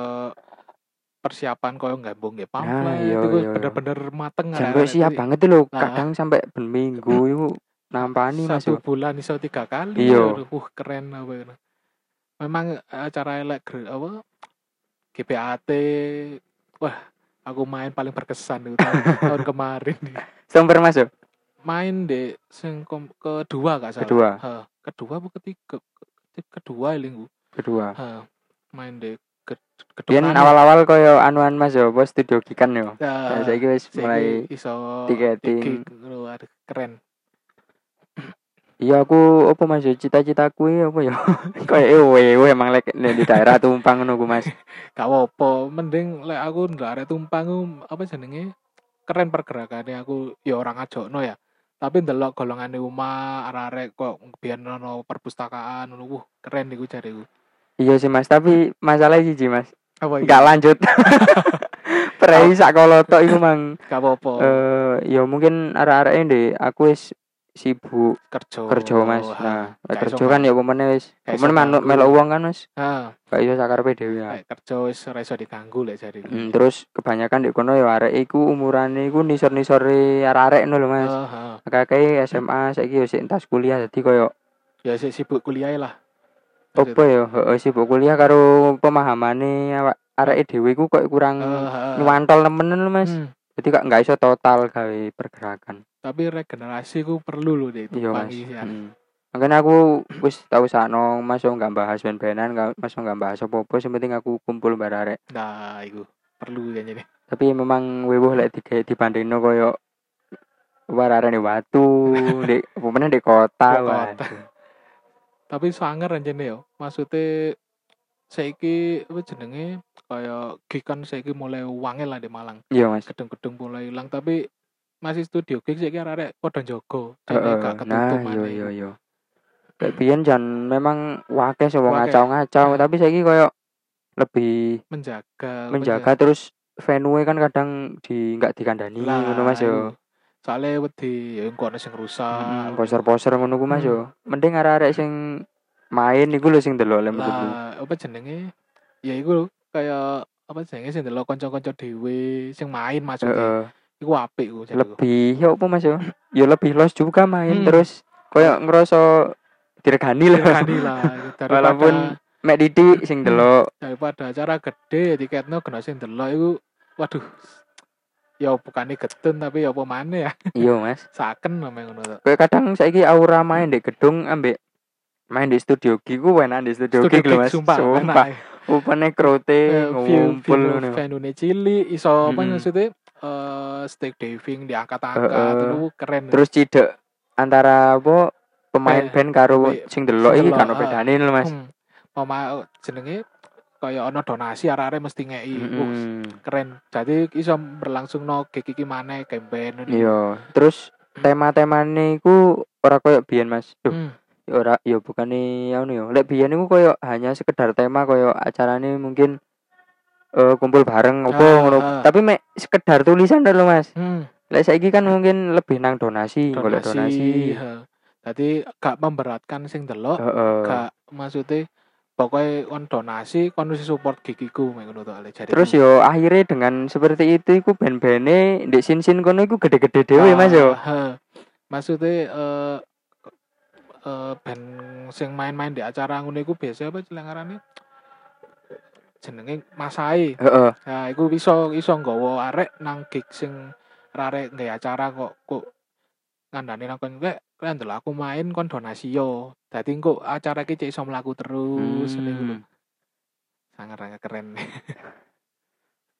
B: persiapan kaya nggambung nggih pamflet
A: iya,
B: iku
A: iya, iya.
B: bener-bener mateng
A: Jan
B: arek-arek
A: koyo siap
B: iki.
A: banget lho,
B: Nah.
A: kadang sampai ben minggu iku nampani Mas.
B: Satu bulan iso tiga kali.
A: Iya.
B: Aduh, Uh, keren apa itu. Memang acara elek gre- apa GPAT wah aku main paling berkesan itu tahun, tahun kemarin
A: Sumber Mas. yo?
B: main di sing kom- kedua gak salah
A: Kedua.
B: Ha, kedua apa ketiga Ke- kedua linggu
A: Kedua.
B: ha, main di ke- kedua
A: Biyen awal-awal koyo anuan Mas yo, apa studio kikan yo. Nah,
B: Ya,
A: saiki wis
B: Saiki
A: mulai
B: iso
A: tiketing.
B: iki lho, aduh, keren
A: Iya aku apa mas ya cita-citaku ya apa ya kayak ewe ewe emang lek nek di daerah tumpang nunggu mas
B: gak apa mending lek aku ndarek tumpang ku, apa jenenge keren pergerakannya aku ya orang ajokno ya tapi ndelok golongane omah arek-arek kok biyen ono perpustakaan ngono wuh keren iku jariku
A: iya sih mas tapi masalah siji mas
B: apa iki
A: nggak lanjut prei sak kolotok iku mang
B: gak apa-apa
A: eh ya mungkin arah-arah ini aku wis sibuk
B: kerja
A: kerja mas
B: Ha,
A: nah lek
B: Oh, gak iso
A: kerja kan ya pemene wis
B: gak iso
A: pemene manut
B: ganggu.
A: melok uang kan mas
B: ha
A: gak iso sakarepe dhewe ya
B: lek kerja wis ora iso diganggu lek jariku
A: Hmm, terus kebanyakan di kono ya arek iku umurane iku nisor-nisore arek-arek ngono lho
B: Ha,
A: mas
B: Eh, ha.
A: kakek SMA saiki yo sik entas kuliah dadi koyo
B: ya sik sibuk kuliah lah
A: opo ya heeh sibuk kuliah karo pemahamane awak areke dhewe ku kok
B: Eh, Oh.
A: kurang
B: nyuwun
A: nyuwantol nemenan lho
B: Hmm.
A: Mas. Jadi kok nggak iso total gawe pergerakan.
B: tapi regenerasi ku perlu loh deh
A: Iya
B: tumpang
A: Mas.
B: iki ya.
A: Mm. Makanya aku wis tau sakno Mas yo nggak bahas ben-benan, nggak- Mas yo nggak bahas apa-apa, sing penting aku kumpul bareng arek.
B: nah iku perlu kayaknya nih
A: Tapi memang wewuh lek digawe dibandingno koyo warare di watu, di pemene di kota.
B: Di
A: wah.
B: kota. tapi sangar anjene yo maksudnya saiki apa jenenge kaya gikan saiki mulai wangel lah di Malang
A: Iya Mas.
B: gedung-gedung mulai hilang tapi masih studio gigs iki arek padha njogo dene gak ketutup
A: nah yo
B: maneh.
A: yo yo lek biyen jan memang wakeh sing wong
B: Wakeh.
A: ngacau-ngacau
B: Ya.
A: tapi saiki koyo lebih
B: menjaga
A: menjaga terus venue kan kadang di nggak dikandani
B: Lah,
A: ngono Mas yo.
B: iya. soalnya wedi ya engko ana sing rusak
A: Mm, Poser-poser ngono ku Mas yo. Mending arek-arek sing main iku lho sing delok lek menurutku.
B: lah apa jenenge ya iku lho, kayak apa jenenge sing delok kanca-kanca dhewe sing main maksudnya
A: Heeh.
B: iku apik iku jadi iku.
A: lebih yo apa Mas yo? Yo lebih los juga main
B: Hmm.
A: terus koyo ngerasa diregani lah.
B: Berani lah daripada
A: Walaupun- Mek Didi sing delok
B: daripada acara gede ya tiketnya kena sing delok iku waduh ya bukannya getun tapi ya apa mana ya
A: iya Mas.
B: saken namanya ngono tuh
A: Kayak kadang saiki aura main di gedung ambek main di studio G ku enak di studio, G lho
B: Gig,
A: Mas.
B: sumpah
A: Sumpah.
B: enak
A: Upane krote
B: Eh, view
A: ngumpul
B: view
A: ngono.
B: venue cili iso apa
A: Mm-mm.
B: maksudnya eh stake diving
A: Eh,
B: diangkat-angkat
A: eh.
B: itu keren
A: terus cidek antara apa pemain
B: Eh,
A: band karo
B: wi-
A: sing delok iki
B: delok,
A: kan
B: ah.
A: bedane lho Mas.
B: Hmm. Pema jenenge kaya ana donasi arek-arek mesti ngeki. Wah,
A: Mm-mm.
B: keren. Jadi iso berlangsung no gig iki maneh campaign ngono.
A: Iya, terus tema-temane iku ora koyo biyen Mas. Duh,
B: Hmm.
A: ya ora ya bukane anu ya. Lek biyen iku koyo hanya sekedar tema koyo acarane mungkin eh, kumpul bareng opo
B: Ah,
A: ngono.
B: ah.
A: Tapi mek sekedar tulisan lho Mas.
B: Hmm.
A: Lek saiki kan mungkin lebih nang donasi, golek
B: Donasi.
A: donasi.
B: ha. Jadi gak memberatkan sing delok,
A: Heeh.
B: gak maksudnya pokoknya kon donasi kon wis support gig iku mek ngono to Ale. Jadi
A: Terus yo akhirnya dengan seperti itu iku band-bande ndek sin-sin kono iku gede-gede dhewe Mas yo.
B: Maksudnya eh eh band sing main-main di acara ngono iku biasa apa celengarane? Jenenge Masai.
A: Heeh.
B: Nah, iku iso iso nggawa arek nang gig sing arek nggawe acara kok kok ngandani nang kon lek kalian delok aku main kon donasi yo. Dadi engko acara iki cek iso mlaku terus ngene iku lho.
A: Hmm. Eh.
B: Sangat-sangat keren.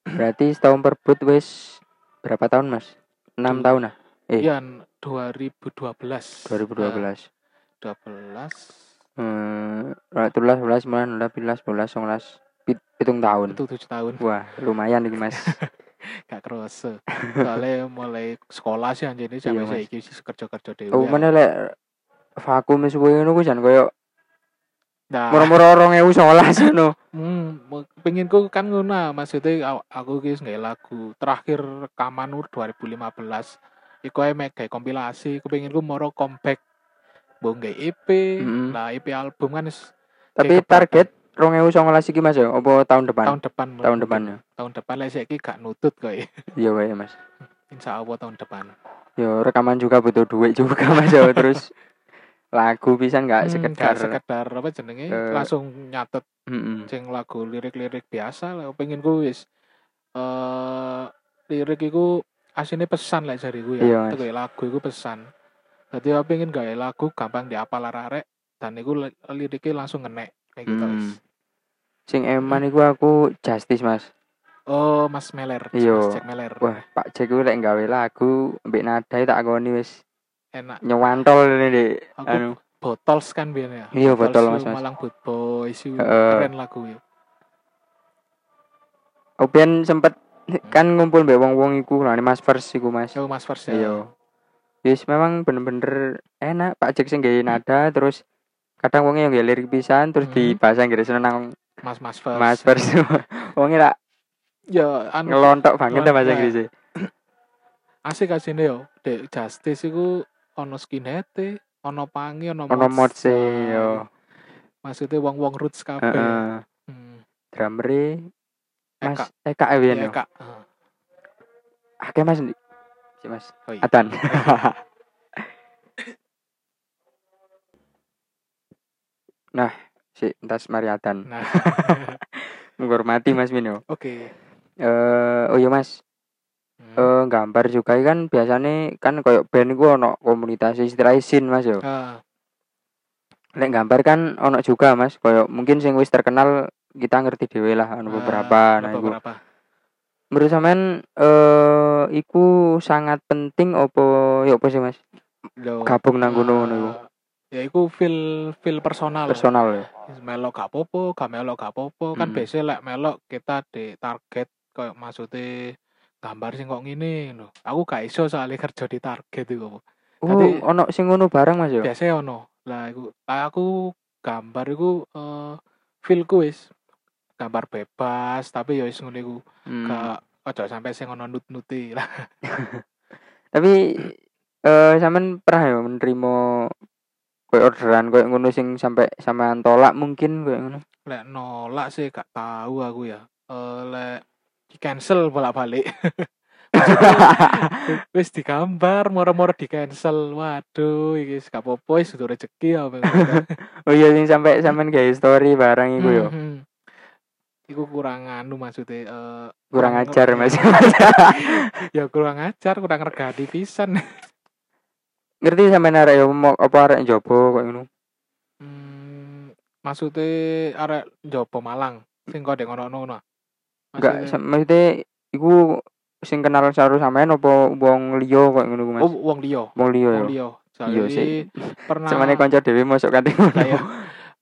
A: Berarti setahun perbut wis berapa tahun mas? 6
B: Du-
A: tahun lah Eh.
B: Iya, 2012.
A: 2012
B: Eh, 12 Nah.
A: hmm, 13, 11, 11, 11, 11, 11 pit- pitung tahun
B: itu 7 tahun
A: Wah lumayan nih mas
B: gak kerasa soalnya mulai sekolah sih anjir ini
A: Iya,
B: sampai
A: Mas.
B: saya sih kerja kerja dewe
A: Oh mana lek vakum suwe ngono ku jan koyo
B: nah
A: moro-moro 2019 ngono.
B: hmm, me- penginku kan ngono maksudnya aw- aku guys nggak lagu terakhir rekaman nur 2015 iku ae mek kayak kompilasi aku pengen moro comeback mbok nggak EP
A: Mm-mm.
B: lah EP album kan is-
A: Tapi
B: Kayak kepotong.
A: target 2019 iki mas ya Apa tahun depan?
B: tahun depan
A: Tahun
B: menurutku.
A: depan ya
B: tahun depan lah saya gak nutut kok ya.
A: Iya wae mas
B: insya Allah tahun depan
A: Yo rekaman juga butuh duit juga mas yo Terus lagu pisan
B: Hmm,
A: gak
B: gak
A: sekedar
B: sekedar apa jenenge
A: eh,
B: langsung nyatet
A: Mm-mm.
B: sing lagu lirik-lirik biasa lah pengen ku wis eh lirik iku asine pesan lah jariku
A: Iya,
B: ya
A: Mas.
B: Itu kayak lagu iku pesan dadi aku pengen gawe lagu gampang diapal arek dan iku li- liriknya langsung ngenek kayak gitu
A: Hmm.
B: wis.
A: Sing eman iku aku Justice Mas.
B: oh Mas Meler
A: Iya.
B: Mas Jack Meler
A: Wah, Pak Jack ku lek gawe lagu mbek nadai tak koni wis
B: enak
A: nyewantol ini Dik.
B: Aku-
A: Anu.
B: botols kan biyen ya
A: Iya, Botols, Mas,
B: Botols
A: Mas.
B: Malang Boot Boys iku
A: Heeh.
B: keren lagu ya
A: Open Oh, sempet kan ngumpul mbek wong-wong iku lha Mas Vers iku Mas.
B: yo Mas Vers ya
A: Iya. Wis memang bener-bener enak Pak Jack sing gawe nada terus kadang wonge yang gawe lirik pisan terus di
B: Mhm.
A: bahasa Inggris nang
B: Mas Mas Vers
A: Mas Vers. wonge lak
B: ya anu
A: ngelontok banget dah bahasa
B: Ngelontok.
A: Inggris.
B: asik asine yo dek justice iku ono skinhead ono pangi ono
A: Ono
B: Mods.
A: modse
B: Nah,
A: yo.
B: maksudnya wong wong roots kabeh
A: Heeh.
B: hmm.
A: Drummer e, Mas
B: Eka
A: Eka eh,
B: ya
A: biyen yo.
B: Eka Heeh.
A: Oke Mas. Ndi? Si Mas.
B: Oh, iya.
A: Adan. nah, si entas mari Adan.
B: nah
A: Menghormati Mas Mino.
B: oke
A: Eh, oh iya Mas,
B: Hmm.
A: eh gambar juga iki kan biasanya kan koyo band iku ono komunitas istilah isin Mas yo.
B: Ah,
A: Lek gambar kan ono juga Mas, koyo mungkin sing wis terkenal kita ngerti dhewe lah
B: ah,
A: anu beberapa nah
B: ono
A: iku.
B: beberapa
A: Menurut sampean eh iku sangat penting opo yo opo sih Mas?
B: Lho,
A: Gabung nang
B: ah,
A: ngono ngono iku.
B: ya iku feel feel personal
A: Personal ya. yo.
B: melok gak popo gak melok gak popo kan
A: Mm.
B: biasanya lek melok kita di target koyo maksudnya gambar sing kok ngene lho. Aku gak iso soalnya kerja di target
A: Oh,
B: iku. Tadi-
A: ono sing ngono bareng Mas ya?
B: Biasanya ono. Lah iku lah aku gambar iku eh feelku wis gambar bebas tapi ya wis ngono iku.
A: Hmm.
B: Gak ojo sampai sing ono nut-nuti lah.
A: Tapi eh sampean pernah ya menerima koyo orderan koyo ngono sing sampai sampean tolak mungkin koyo ngono.
B: Lek nolak sih gak tahu aku ya. Eh lek di cancel bolak-balik. wis digambar moro-moro di cancel waduh iki wis gak apa-apa wis udah rezeki ya apa
A: oh iya sing sampai sampean gawe story bareng iku ya. yo.
B: Mhm. iku kurang anu maksudnya eh,
A: Kurang
B: kurang-
A: ajar Mas.
B: ya kurang ajar kurang regadi pisan
A: Ngerti sampean arek yo mau apa arek jopo koyo ngono.
B: hmm, maksudnya arek njopo Malang sing kok ngono ngono ah?
A: Enggak sam- maksudnya iku sing kenal karo sampean apa wong liya koyo ngono ku, Mas.
B: oh wong liya
A: Wong liya yo.
B: wong liya
A: Iya
B: Jadi
A: sih.
B: pernah
A: Samane kanca dhewe masuk kate ngono.
B: Lah ya,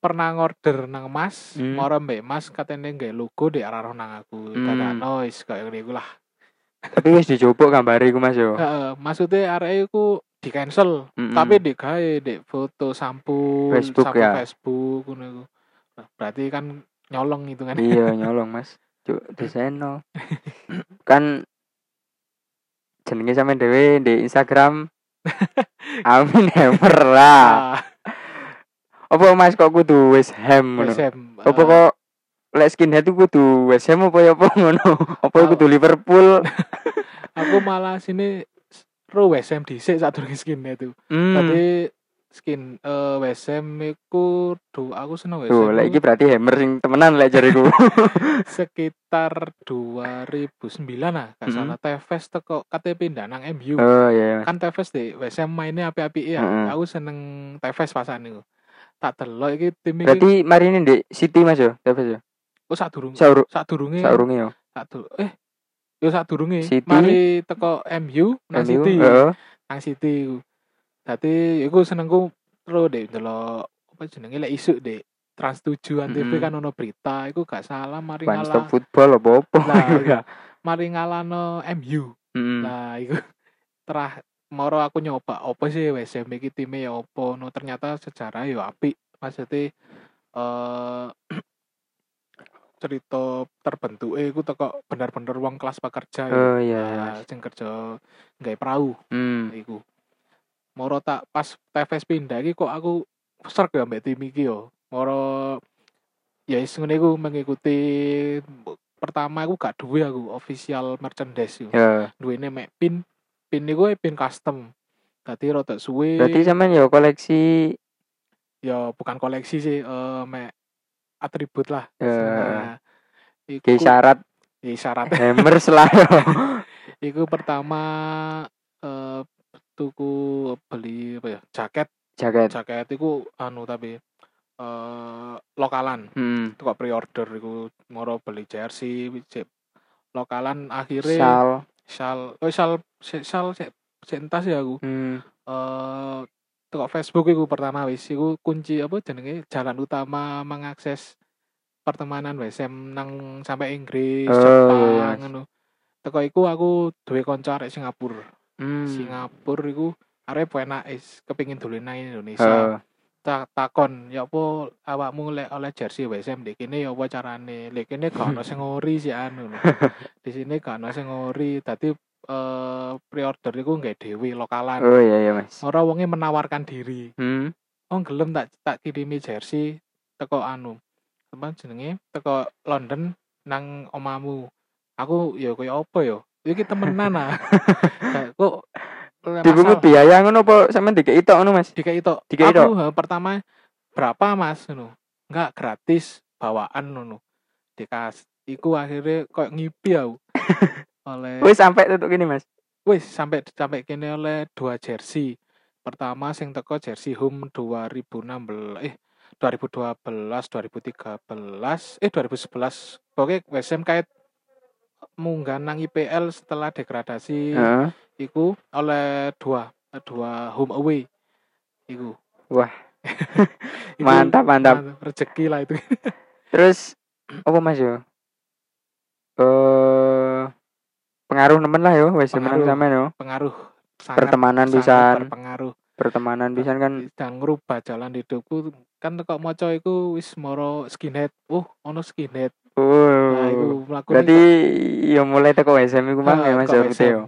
B: pernah order nang Mas,
A: Hmm.
B: moro mbek Mas katene nggae logo di arah nang aku.
A: Hmm.
B: Dadakno wis kaya ngene iku lah.
A: Tapi wis dijupuk gambare iku Mas yo.
B: Heeh, maksudnya arek iku di cancel,
A: Mm-mm.
B: tapi di gawe di foto
A: Hmm.
B: sampul,
A: Facebook
B: sampul
A: ya.
B: Facebook ngono iku. Nah, Berarti kan nyolong gitu kan.
A: iya nyolong mas cuk deseno kan jenenge sampe dhewe di Instagram Amin Hammer lah
B: Ah,
A: apa mas kok kudu wis hem ngono
B: SM, eh,
A: apa kok lek skinhead itu kudu wis hem apa ya apa ngono apa kudu Liverpool
B: aku malah sini s- ro WSM dhisik sadurunge skinnya itu.
A: hmm.
B: Tapi skin eh WSM iku duh aku seneng WSM.
A: Tuh,
B: iku.
A: lek iki berarti hammer sing temenan lek jariku.
B: sekitar 2009 lah ah, gak
A: Mm-mm.
B: salah Tevez teko KTP pindah nang MU
A: oh iya.
B: kan Tevez di WSM mainnya api-api ya
A: Mm-mm.
B: aku seneng Tevez pasan itu tak delok iki tim iki
A: Berarti mari ini di City Mas yo, siapa yo?
B: oh sadurung
A: Saur
B: sadurunge
A: saurunge yo.
B: sadu- eh yo sadurunge
A: City. eh.
B: mari teko MU nang
A: MU,
B: Nah, City
A: heeh.
B: nang City iku dadi iku senengku terus deh delok apa jenenge lek isuk deh Trans 7 TV
A: Mm-mm.
B: kan ono berita iku gak salah mari
A: One
B: ngalah
A: stop football apa-apa.
B: Nah,
A: iku ya.
B: mari ngalano MU
A: Mm-mm.
B: Nah, iku terah moro aku nyoba opo sih WSM iki time ya opo no ternyata sejarah ya apik maksudnya eh cerita terbentuk eh iku teko bener-bener wong kelas pekerja ya.
A: Oh iya, iya,
B: Nah,
A: Mas.
B: sing kerja nggawe perahu
A: Hmm.
B: iku. Moro tak pas TVS pindah iki kok aku serg ya mbek tim iki yo. Moro ya wis ngene iku mengikuti pertama aku gak duwe aku official merchandise yo.
A: Ya,
B: duwene mek pin pin niku e pin custom dadi rada suwe
A: berarti sampean ya koleksi
B: ya bukan koleksi sih eh mek atribut lah
A: eh
B: Nah, iku
A: kayak syarat
B: ya, syarat
A: hammer selalu.
B: iku pertama eh tuku beli apa ya jaket
A: Jaket.
B: jaket iku anu tapi eh lokalan
A: Hmm.
B: itu kok pre-order iku moro beli jersey wis- lokalan akhirnya
A: Sal.
B: sal oh sal sal sal sik- sik entas ya aku
A: Hmm.
B: eh teko Facebook iku pertama wis iku kunci apa jenenge jalan utama mengakses pertemanan WSM nang sampai Inggris,
A: Oh, iya,
B: Jepang
A: Mas.
B: ngono. Teko iku aku duwe kanca arek Singapura.
A: Hmm.
B: Singapura iku arek penake kepengin dolen nang
A: Eh,
B: Indonesia. Tak takon, ya apa awakmu lek oleh jersey WSM di kene ya apa carane? Lek kene gak ono sing ngori sih anu. Di sini gak ono sing ngori, dadi eh pre-order iku nggae dhewe lokalan.
A: Oh iya iya, Mas.
B: Ora wonge menawarkan diri.
A: Hmm.
B: Oh gelem tak tak kirimi jersey teko anu. Apa jenenge? Teko London nang omamu. Aku ya kaya apa ya? Iki temenan ah. Kayak Kok le-
A: Dibungut
B: masal
A: biaya ngono apa sampean dikeki tok ngono, Mas?
B: dikei tok.
A: Dikei tok?
B: Aku ha, pertama berapa Mas ngono? Enggak gratis bawaan ngono. Dikas iku akhirnya koyo ngipi aku. Oleh
A: Wis sampai tutuk gini, Mas.
B: wis sampai sampai kene oleh dua jersey pertama sing teko jersey home 2016 eh 2012 2013 eh 2011 pokoknya WSM kait munggah nang IPL setelah degradasi
A: Heeh.
B: iku oleh dua dua home away iku
A: Wah.
B: Iku
A: Mantap, mantap.
B: rezeki lah itu
A: Terus apa Mas yo? Eh pengaruh nemen lah yo wes menang
B: Pengaruh.
A: sampean yo
B: pengaruh sangat
A: pertemanan
B: sangat
A: pisan
B: berpengaruh
A: pertemanan pisan kan
B: dan ngerubah jalan hidupku kan kok moco iku wis moro skinhead uh ono skinhead
A: uh,
B: nah iku mlaku
A: berarti yo mulai teko SM iku mang
B: Ah,
A: ya Mas
B: teko
A: ya gitu
B: SM.
A: yo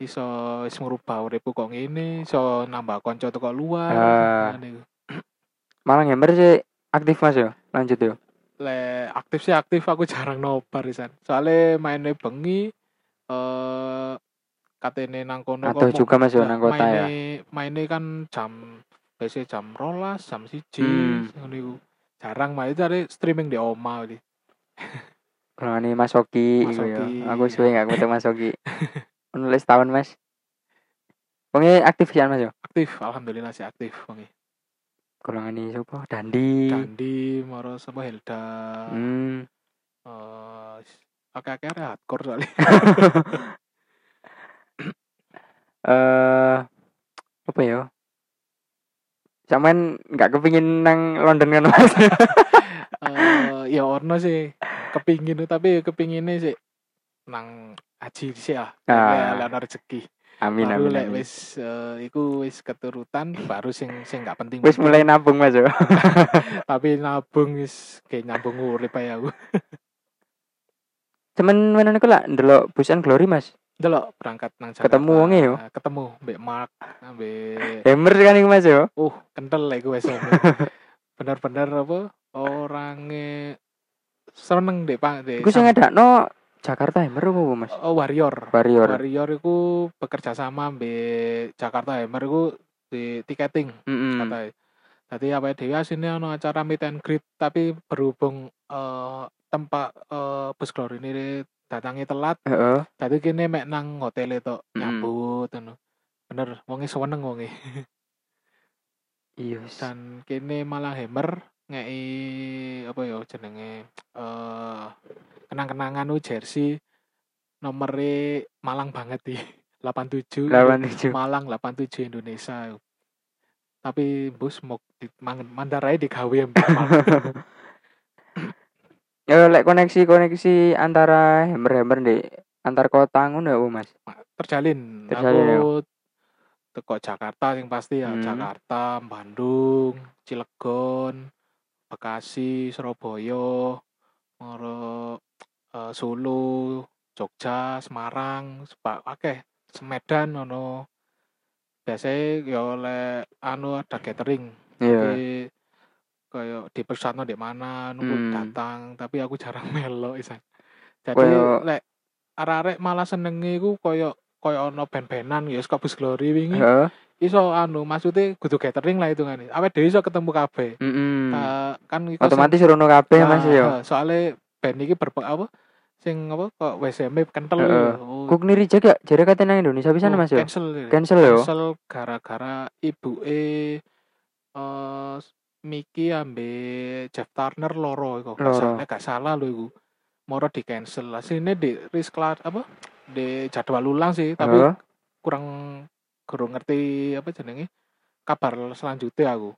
B: iso wis ngerubah uripku kok ngene iso nambah kanca teko luar
A: Ah.
B: nah, niku.
A: malah ngember sih aktif Mas yo lanjut ya. yo
B: le aktif sih aktif aku jarang nobar isan soalnya mainnya bengi eh katene nang kono
A: atau
B: kok
A: juga Mas yo nang kota ya
B: mainnya, mainnya kan jam biasanya jam rolas jam siji
A: Hmm.
B: ngono iku. jarang main cari streaming di oma gitu.
A: Kalau ini Mas Oki,
B: Mas
A: iku yo.
B: Oki.
A: aku suwe gak ketemu Mas Oki. Menulis tahun Mas. Pengen aktif ya Mas yo.
B: aktif alhamdulillah sih aktif bengi
A: Golongan ini sapa? Dandi.
B: Dandi moro sama Helda
A: Hmm.
B: eh akeh-akeh ada hardcore soalnya
A: Eh apa yo? Sampean nggak kepingin nang London kan Mas?
B: Eh, ya ono sih kepingin tapi kepinginnya sih nang aji sih lah
A: Ah.
B: ah. lek ono rezeki
A: amin
B: baru
A: amin.
B: lek
A: amin.
B: wis eh, iku wis keturutan baru sing sing gak penting
A: Wis mulai nabung Mas ya. yo.
B: tapi nabung wis kayak nyambung urip ae aku
A: Cuman menan aku lah ndelok Busan Glory Mas.
B: ndelok berangkat nang Jakarta Eh,
A: Ketemu wonge yo.
B: ketemu mbek Mark mbek
A: Hammer kan iku Mas yo.
B: uh kental lah iku wis bener-bener apa orangnya seneng deh pak deh
A: Iku sing ngadakno Jakarta Hammer apa apa, Mas?
B: oh warrior
A: Warrior.
B: Warrior iku bekerja sama mbek Jakarta Hammer iku di tiketing
A: Mm-mm.
B: katanya. Jadi apa dhewe asine ono acara meet and greet tapi berhubung eh, tempat eh, bus glory ini datangnya telat,
A: Heeh.
B: jadi kini mek nang hotel itu
A: Mm.
B: nyambut ngono. Bener, wonge seneng wonge.
A: Iya. wis.
B: Dan kini malah Hammer ngei apa ya jenenge eh kenang-kenangan u jersey nomere Malang banget di 87
A: lawan tujuh
B: Malang 87 Indonesia tapi bus mau di mang- Mandarai di KW
A: ya lek koneksi koneksi antara hammer hammer di antar kota ngono ya Bu, mas
B: terjalin
A: Terjalin, ya.
B: aku teko Jakarta yang pasti ya
A: Hmm.
B: Jakarta Bandung Cilegon Bekasi Surabaya Moro eh, Solo Jogja Semarang sebab akeh Semedan ono biasanya ya oleh anu ada gathering
A: iya
B: di kayak di pesatno di mana
A: Hmm.
B: nunggu datang tapi aku jarang melo isan jadi
A: Kayak-
B: lek arek-arek malah senenge iku koyo koyo ono ben-benan ya saka bus glory wingi
A: heeh
B: iso anu maksudnya kudu gathering lah hitungane awet dhewe iso ketemu kabeh
A: Mm-mm.
B: Ta- kan iku sing-
A: Hmm. otomatis rono kabeh
B: Nah,
A: mas ya. yo
B: eh, soalnya band iki berpe apa sing apa kok WCM kental
A: Heeh.
B: oh,
A: kuk niri jaga jare kate nang Indonesia bisa
B: oh,
A: mas yo
B: cancel ya.
A: cancel yo
B: cancel gara-gara ibu e eh Miki ambe Jeff Turner loro iku
A: Loro.
B: gak salah gak salah lho iku moro di cancel asline di risklar apa di jadwal ulang sih tapi
A: Heeh.
B: kurang kurang ngerti apa jenenge kabar selanjutnya aku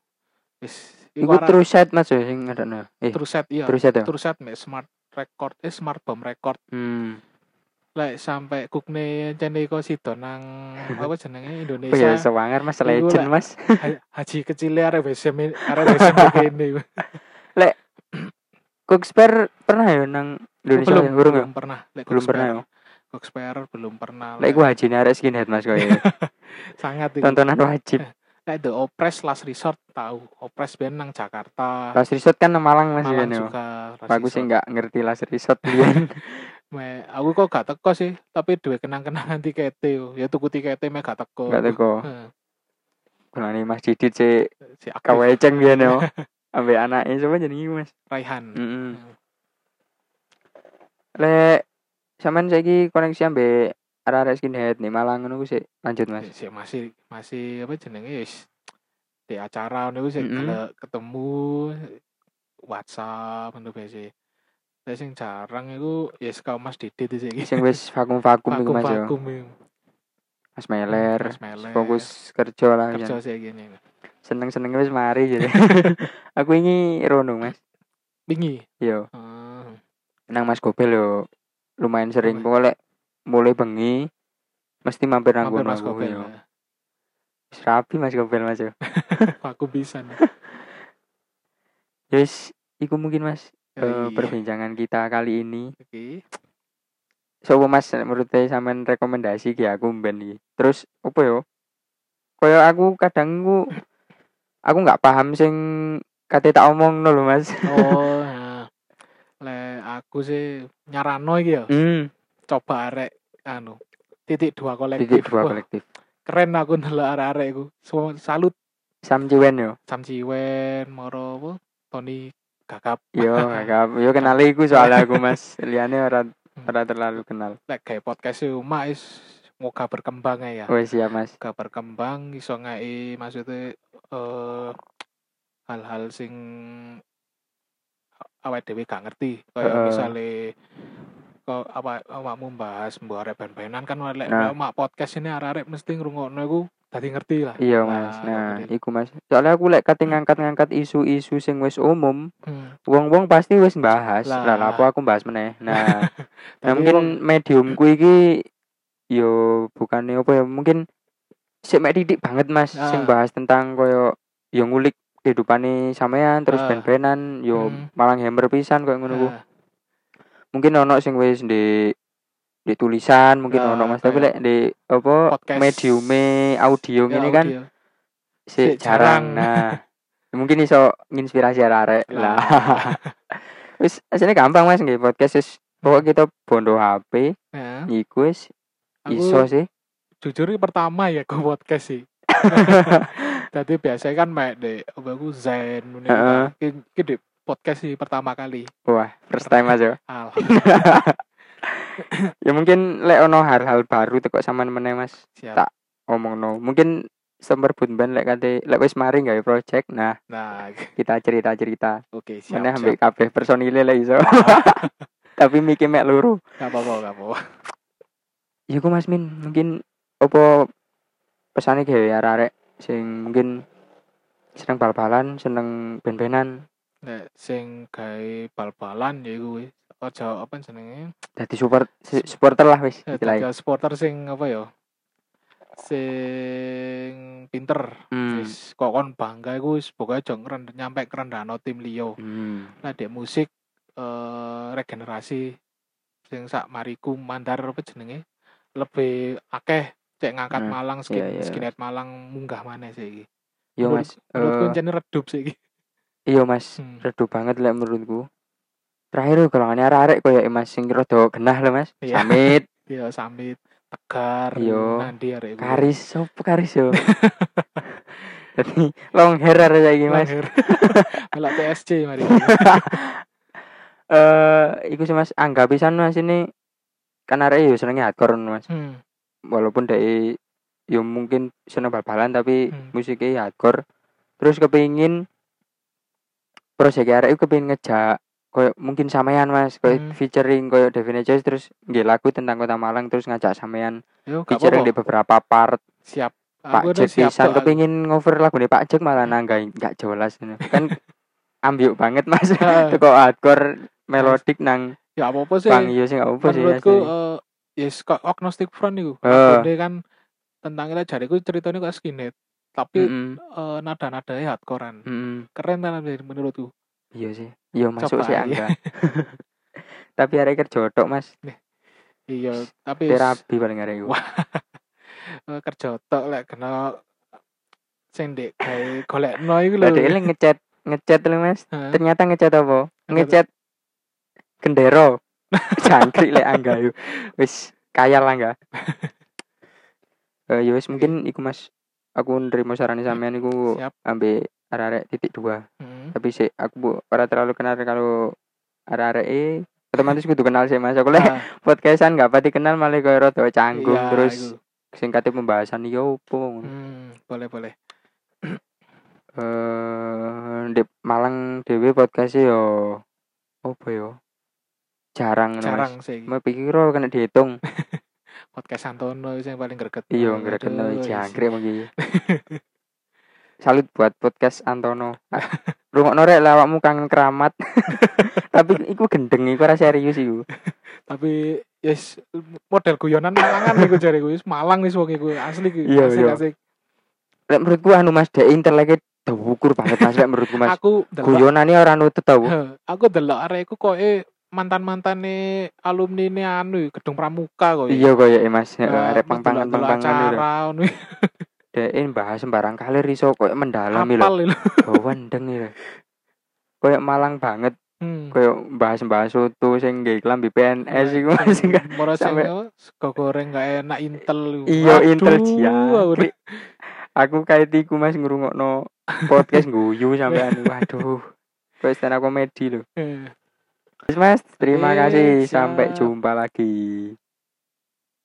B: wis iku
A: iku
B: arah-
A: terus set mas yo sing ngadakno eh
B: terus set iya
A: terus set yo
B: terus set mek smart record eh smart bomb record
A: hmm
B: lek sampai kukne jane iku sido nang apa jenenge
A: Oh, ya
B: Indonesia
A: sewanger mas
B: Iku
A: legend
B: lek-
A: mas
B: Ha- haji kecil arek BSM ini- arek BSM begini
A: kuk spare pernah yo nang Indonesia
B: belum
A: ya? urung yo
B: belum pernah Lek
A: belum
B: Coxper-
A: pernah ya? yo
B: Coxper belum pernah
A: lek gua haji arek skinhead mas koyo
B: sangat itu
A: tontonan wajib
B: lek the Opress last resort tahu Opress ben nang Jakarta
A: Last Resort kan nang Malang mas
B: Malang
A: yo
B: juga last
A: aku sih
B: resort.
A: nggak ngerti Last Resort biyen
B: Me, aku kok gak teko sih tapi duwe kenang-kenangan tikete yo ya tuku tikete me gak teko
A: Gak teko.
B: Heeh.
A: Kulane Mas Didit sih
B: si aktif
A: kaweceng dia no. Ambe anaknya siapa jenenge Mas?
B: Raihan
A: Heeh. Lek sampean saiki koneksi ambe arek-arek skinhead nih Malang ngono ku sih lanjut Mas.
B: Si- masih masih apa jenenge ya wis di acara niku sih
A: Mm-mm.
B: kalau ketemu WhatsApp ngono bae sih. Tapi sing jarang iku ya yes, Mas Didit sih iki. iya,
A: Sing wis vakum-vakum iku Mas yo.
B: Vakum-vakum iku.
A: Mas Meler,
B: Mas Meler.
A: fokus kerja lah kerja.
B: kerja sih gini.
A: Seneng-seneng wis mari jadi. Aku ini rono Mas.
B: Bingi.
A: Yo,
B: Hmm.
A: nang Mas Gobel yo lumayan sering pokoknya lek mulai bengi mesti mampir nang
B: Mampir
A: kono
B: Mas
A: aku
B: Gobel. ya.
A: yo. Wis rapi Mas Gobel Mas yo.
B: Aku bisa.
A: Eh,
B: nih.
A: Ya wis, iku mungkin Mas eh,
B: Yoi.
A: perbincangan kita kali ini.
B: Oke.
A: Sopo Mas menurut saya sampean rekomendasi ki aku mben iki. Terus opo yo? Kaya aku kadang ku aku nggak paham sing kate tak omong lho Mas.
B: Oh, nah. Le aku sih nyarano iki ya,
A: Hmm,
B: coba arek anu titik dua kolektif.
A: titik dua
B: Wah,
A: kolektif.
B: Keren aku ndelok arek-arek iku. So- Salut
A: Sam Ciwen yo.
B: Sam Ciwen, Moro apa? Tony Gagap.
A: Yo, agak yo kenali iku soalnya aku Mas. Liane ora ora terlalu kenal.
B: Lek gawe podcast e omah is moga berkembang ae ya.
A: Wes ya Mas.
B: Moga berkembang iso ngai maksudnya eh hal-hal sing awake dhewe gak ngerti. Kayak
A: Heeh.
B: misale kok apa awakmu bahas mbok arek ben-benan kan lek
A: Nah.
B: lek mak podcast ini arek-arek mesti ngrungokno iku dadi ngerti lah.
A: Iya mas, nah,
B: ngerti.
A: iku mas. Soalnya aku lek kate ngangkat-ngangkat isu-isu sing wis umum,
B: Hmm.
A: wong-wong pasti wis bahas.
B: Lah.
A: Lah, apa aku bahas meneh. Nah, nah
B: Tapi wong-
A: mungkin mediumku iki yo bukannya apa ya, mungkin sik mek titik banget mas
B: Nah.
A: sing bahas tentang koyo yo ngulik kehidupane sampean terus
B: Ah.
A: ben-benan yo
B: Hmm.
A: malang hammer pisan koyo ngono ku.
B: Nah,
A: Mungkin ono sing wis di di tulisan mungkin
B: Nah,
A: ono mas tapi lek
B: kayak
A: di apa
B: podcast.
A: mediume audio
B: ya
A: ngene kan
B: audio.
A: si
B: Sik
A: jarang.
B: jarang.
A: Nah, mungkin iso nginspirasi arek lah.
B: Lah.
A: wis asline gampang Mas nggih podcast wis pokok kita bondo HP
B: Nah,
A: iku wis
B: aku
A: iso sih.
B: jujur ini pertama ya gue podcast sih jadi biasanya kan mek deh apa aku zen ini kan,
A: Heeh.
B: ini di podcast sih pertama kali
A: Wah, first time Mas yo.
B: alhamdulillah
A: Ya mungkin lek ono hal-hal baru teko sampean meneh Mas
B: siap
A: Tak. omongno. Mungkin semperbut ben lek kate lek wis mari gawe project. Nah,
B: nah oke
A: kita cerita-cerita.
B: siap
A: Meneh
B: siap
A: ambek kabeh personile lek iso. Tapi mikir mek luru.
B: gak apa-apa gak apa-apa
A: Ya ku Mas Min, mungkin opo pesane gawe arek-arek sing mungkin seneng bal-balan, seneng ben-benan,
B: Nek sing gawe bal-balan ya gue ojo apa jenenge
A: dadi support si- supporter lah wis
B: Eh,
A: istilahnya.
B: dadi supporter sing apa ya sing pinter
A: Hmm.
B: wis kok kon bangga iku wis pokoke aja ngeren- nyampe kerendano tim liyo
A: Hmm.
B: Nah, dek musik eh regenerasi sing sak mariku mandar apa jenenge? Lebih akeh cek ngangkat
A: Nah,
B: Malang skin,
A: iya, Eh. iya.
B: skinhead Malang munggah mana sih iki.
A: Yo
B: Menurut-
A: Mas,
B: Menurutku
A: eh,
B: encen redup sih iki.
A: iya Mas,
B: Hmm,
A: redup banget lek menurutku. Terakhir golongannya arek-arek koyo Mas sing rada genah lho Mas.
B: Iya.
A: Samit,
B: Iya, samit tegar
A: Iya.
B: nanti arek iku.
A: Karis, sopo Karis yo. Dadi long hair arek saiki Mas.
B: Lahir. Melak TSC mari.
A: Eh, iku sih Mas, anggapisan Mas ini kan arek yo senenge hardcore Mas.
B: Hmm,
A: walaupun dari ya mungkin seneng bal-balan tapi
B: Hmm.
A: musiknya ya hardcore terus kepingin proyek arek itu kepingin ngejak koyo mungkin sampean mas koyo
B: Hmm.
A: featuring koyo Devin Joyce terus nggih lagu tentang kota Malang terus ngajak sampean
B: yo gak
A: featuring di
B: apa-apa.
A: beberapa part
B: Siap.
A: Pak
B: Aku udah
A: Jack
B: siap
A: pisan
B: kok, aku.
A: kepingin ngover lagu nih Pak Jack malah nangga nggak jelas ini. kan ambyuk banget mas
B: Ah.
A: kok hardcore melodik nang
B: Ya apa-apa sih.
A: bang yo sih nggak apa sih
B: menurutku
A: asli.
B: eh yes kok agnostic front itu
A: Eh.
B: Lagunya kan tentang kita jariku ceritanya kok skinhead tapi
A: Mm-mm,
B: eh, nada-nadanya hardcorean
A: mm-mm.
B: keren tenan sih menurutku
A: Iya sih. Iya masuk
B: Coba
A: sih
B: aja.
A: angga. Tapi arek kerja tok, Mas.
B: iya tapi
A: Terapi paling arek iku.
B: Wah. eh, kerja tok lek kena sing ndek gawe golekno iku lho
A: Lah dhewe ngechat, ngechat lho, Mas.
B: Hah?
A: Ternyata ngechat apa?
B: Ngechat-
A: Ngechat gendero. Jangkrik lek angga yo. Wis kaya lah angga. Eh ya wis mungkin iku Mas. Aku nerima saran sampean iku
B: siap
A: ambek arek-arek titik dua.
B: Mm.
A: Tapi sik aku bu- ora terlalu kenal kalau arek-arek e otomatis kudu kenal sih Mas. Aku lek
B: Ah,
A: podcastan gak pati kenal malah koyo rada canggung
B: iya,
A: terus
B: iku.
A: singkatnya pembahasan yo opo ngono.
B: Hmm, boleh boleh
A: eh di Malang dhewe podcast e yo opo yo jarang ngono,
B: jarang
A: Mas.
B: sih iki.
A: Mau pikir ora kena dihitung.
B: podcast Santono sing paling greget
A: Iya, ngrekeno
B: Aduh,
A: jangkrik mungkin. Salut buat podcast Antono. Ah, Rungokno rek lah awakmu kangen keramat. Tapi iku gendeng iku ora serius iku.
B: tapi yes model guyonan Malangan iku jare iku wis Malang wis wong iku asli iku
A: Iya,
B: asik
A: iya.
B: asik.
A: Lek menurutku anu Mas Dek inteleknya terukur banget Mas lek menurutku Mas.
B: Aku delok
A: Guyonane ora nutut tau.
B: Heh, aku delok arek iku koke mantan-mantane alumni ne anu Gedung Pramuka kok.
A: Iya koyoke Mas. Heeh,
B: Eh,
A: Arek
B: Oh, mas
A: pang-pangan
B: delok-delok
A: pang-pangan.
B: acara ngono.
A: Dek bahas sembarang kali iso koyo mendalam lho.
B: Apal lho.
A: Gawendeng ya. Koyok Malang banget,
B: Hmm.
A: koyok bahas-bahas soto sing nggae klambi PNS iku Mas.
B: Moro sing
A: sampe-
B: apa, sego goreng gak enak intel.
A: Iya intel
B: Waduh,
A: jari. Aku kayak tiku Mas ngrungokno podcast guyu sampean waduh. Koyo stand up comedy lho.
B: Eh,
A: Mas, terima
B: Eh,
A: kasih.
B: siap.
A: Sampai jumpa lagi.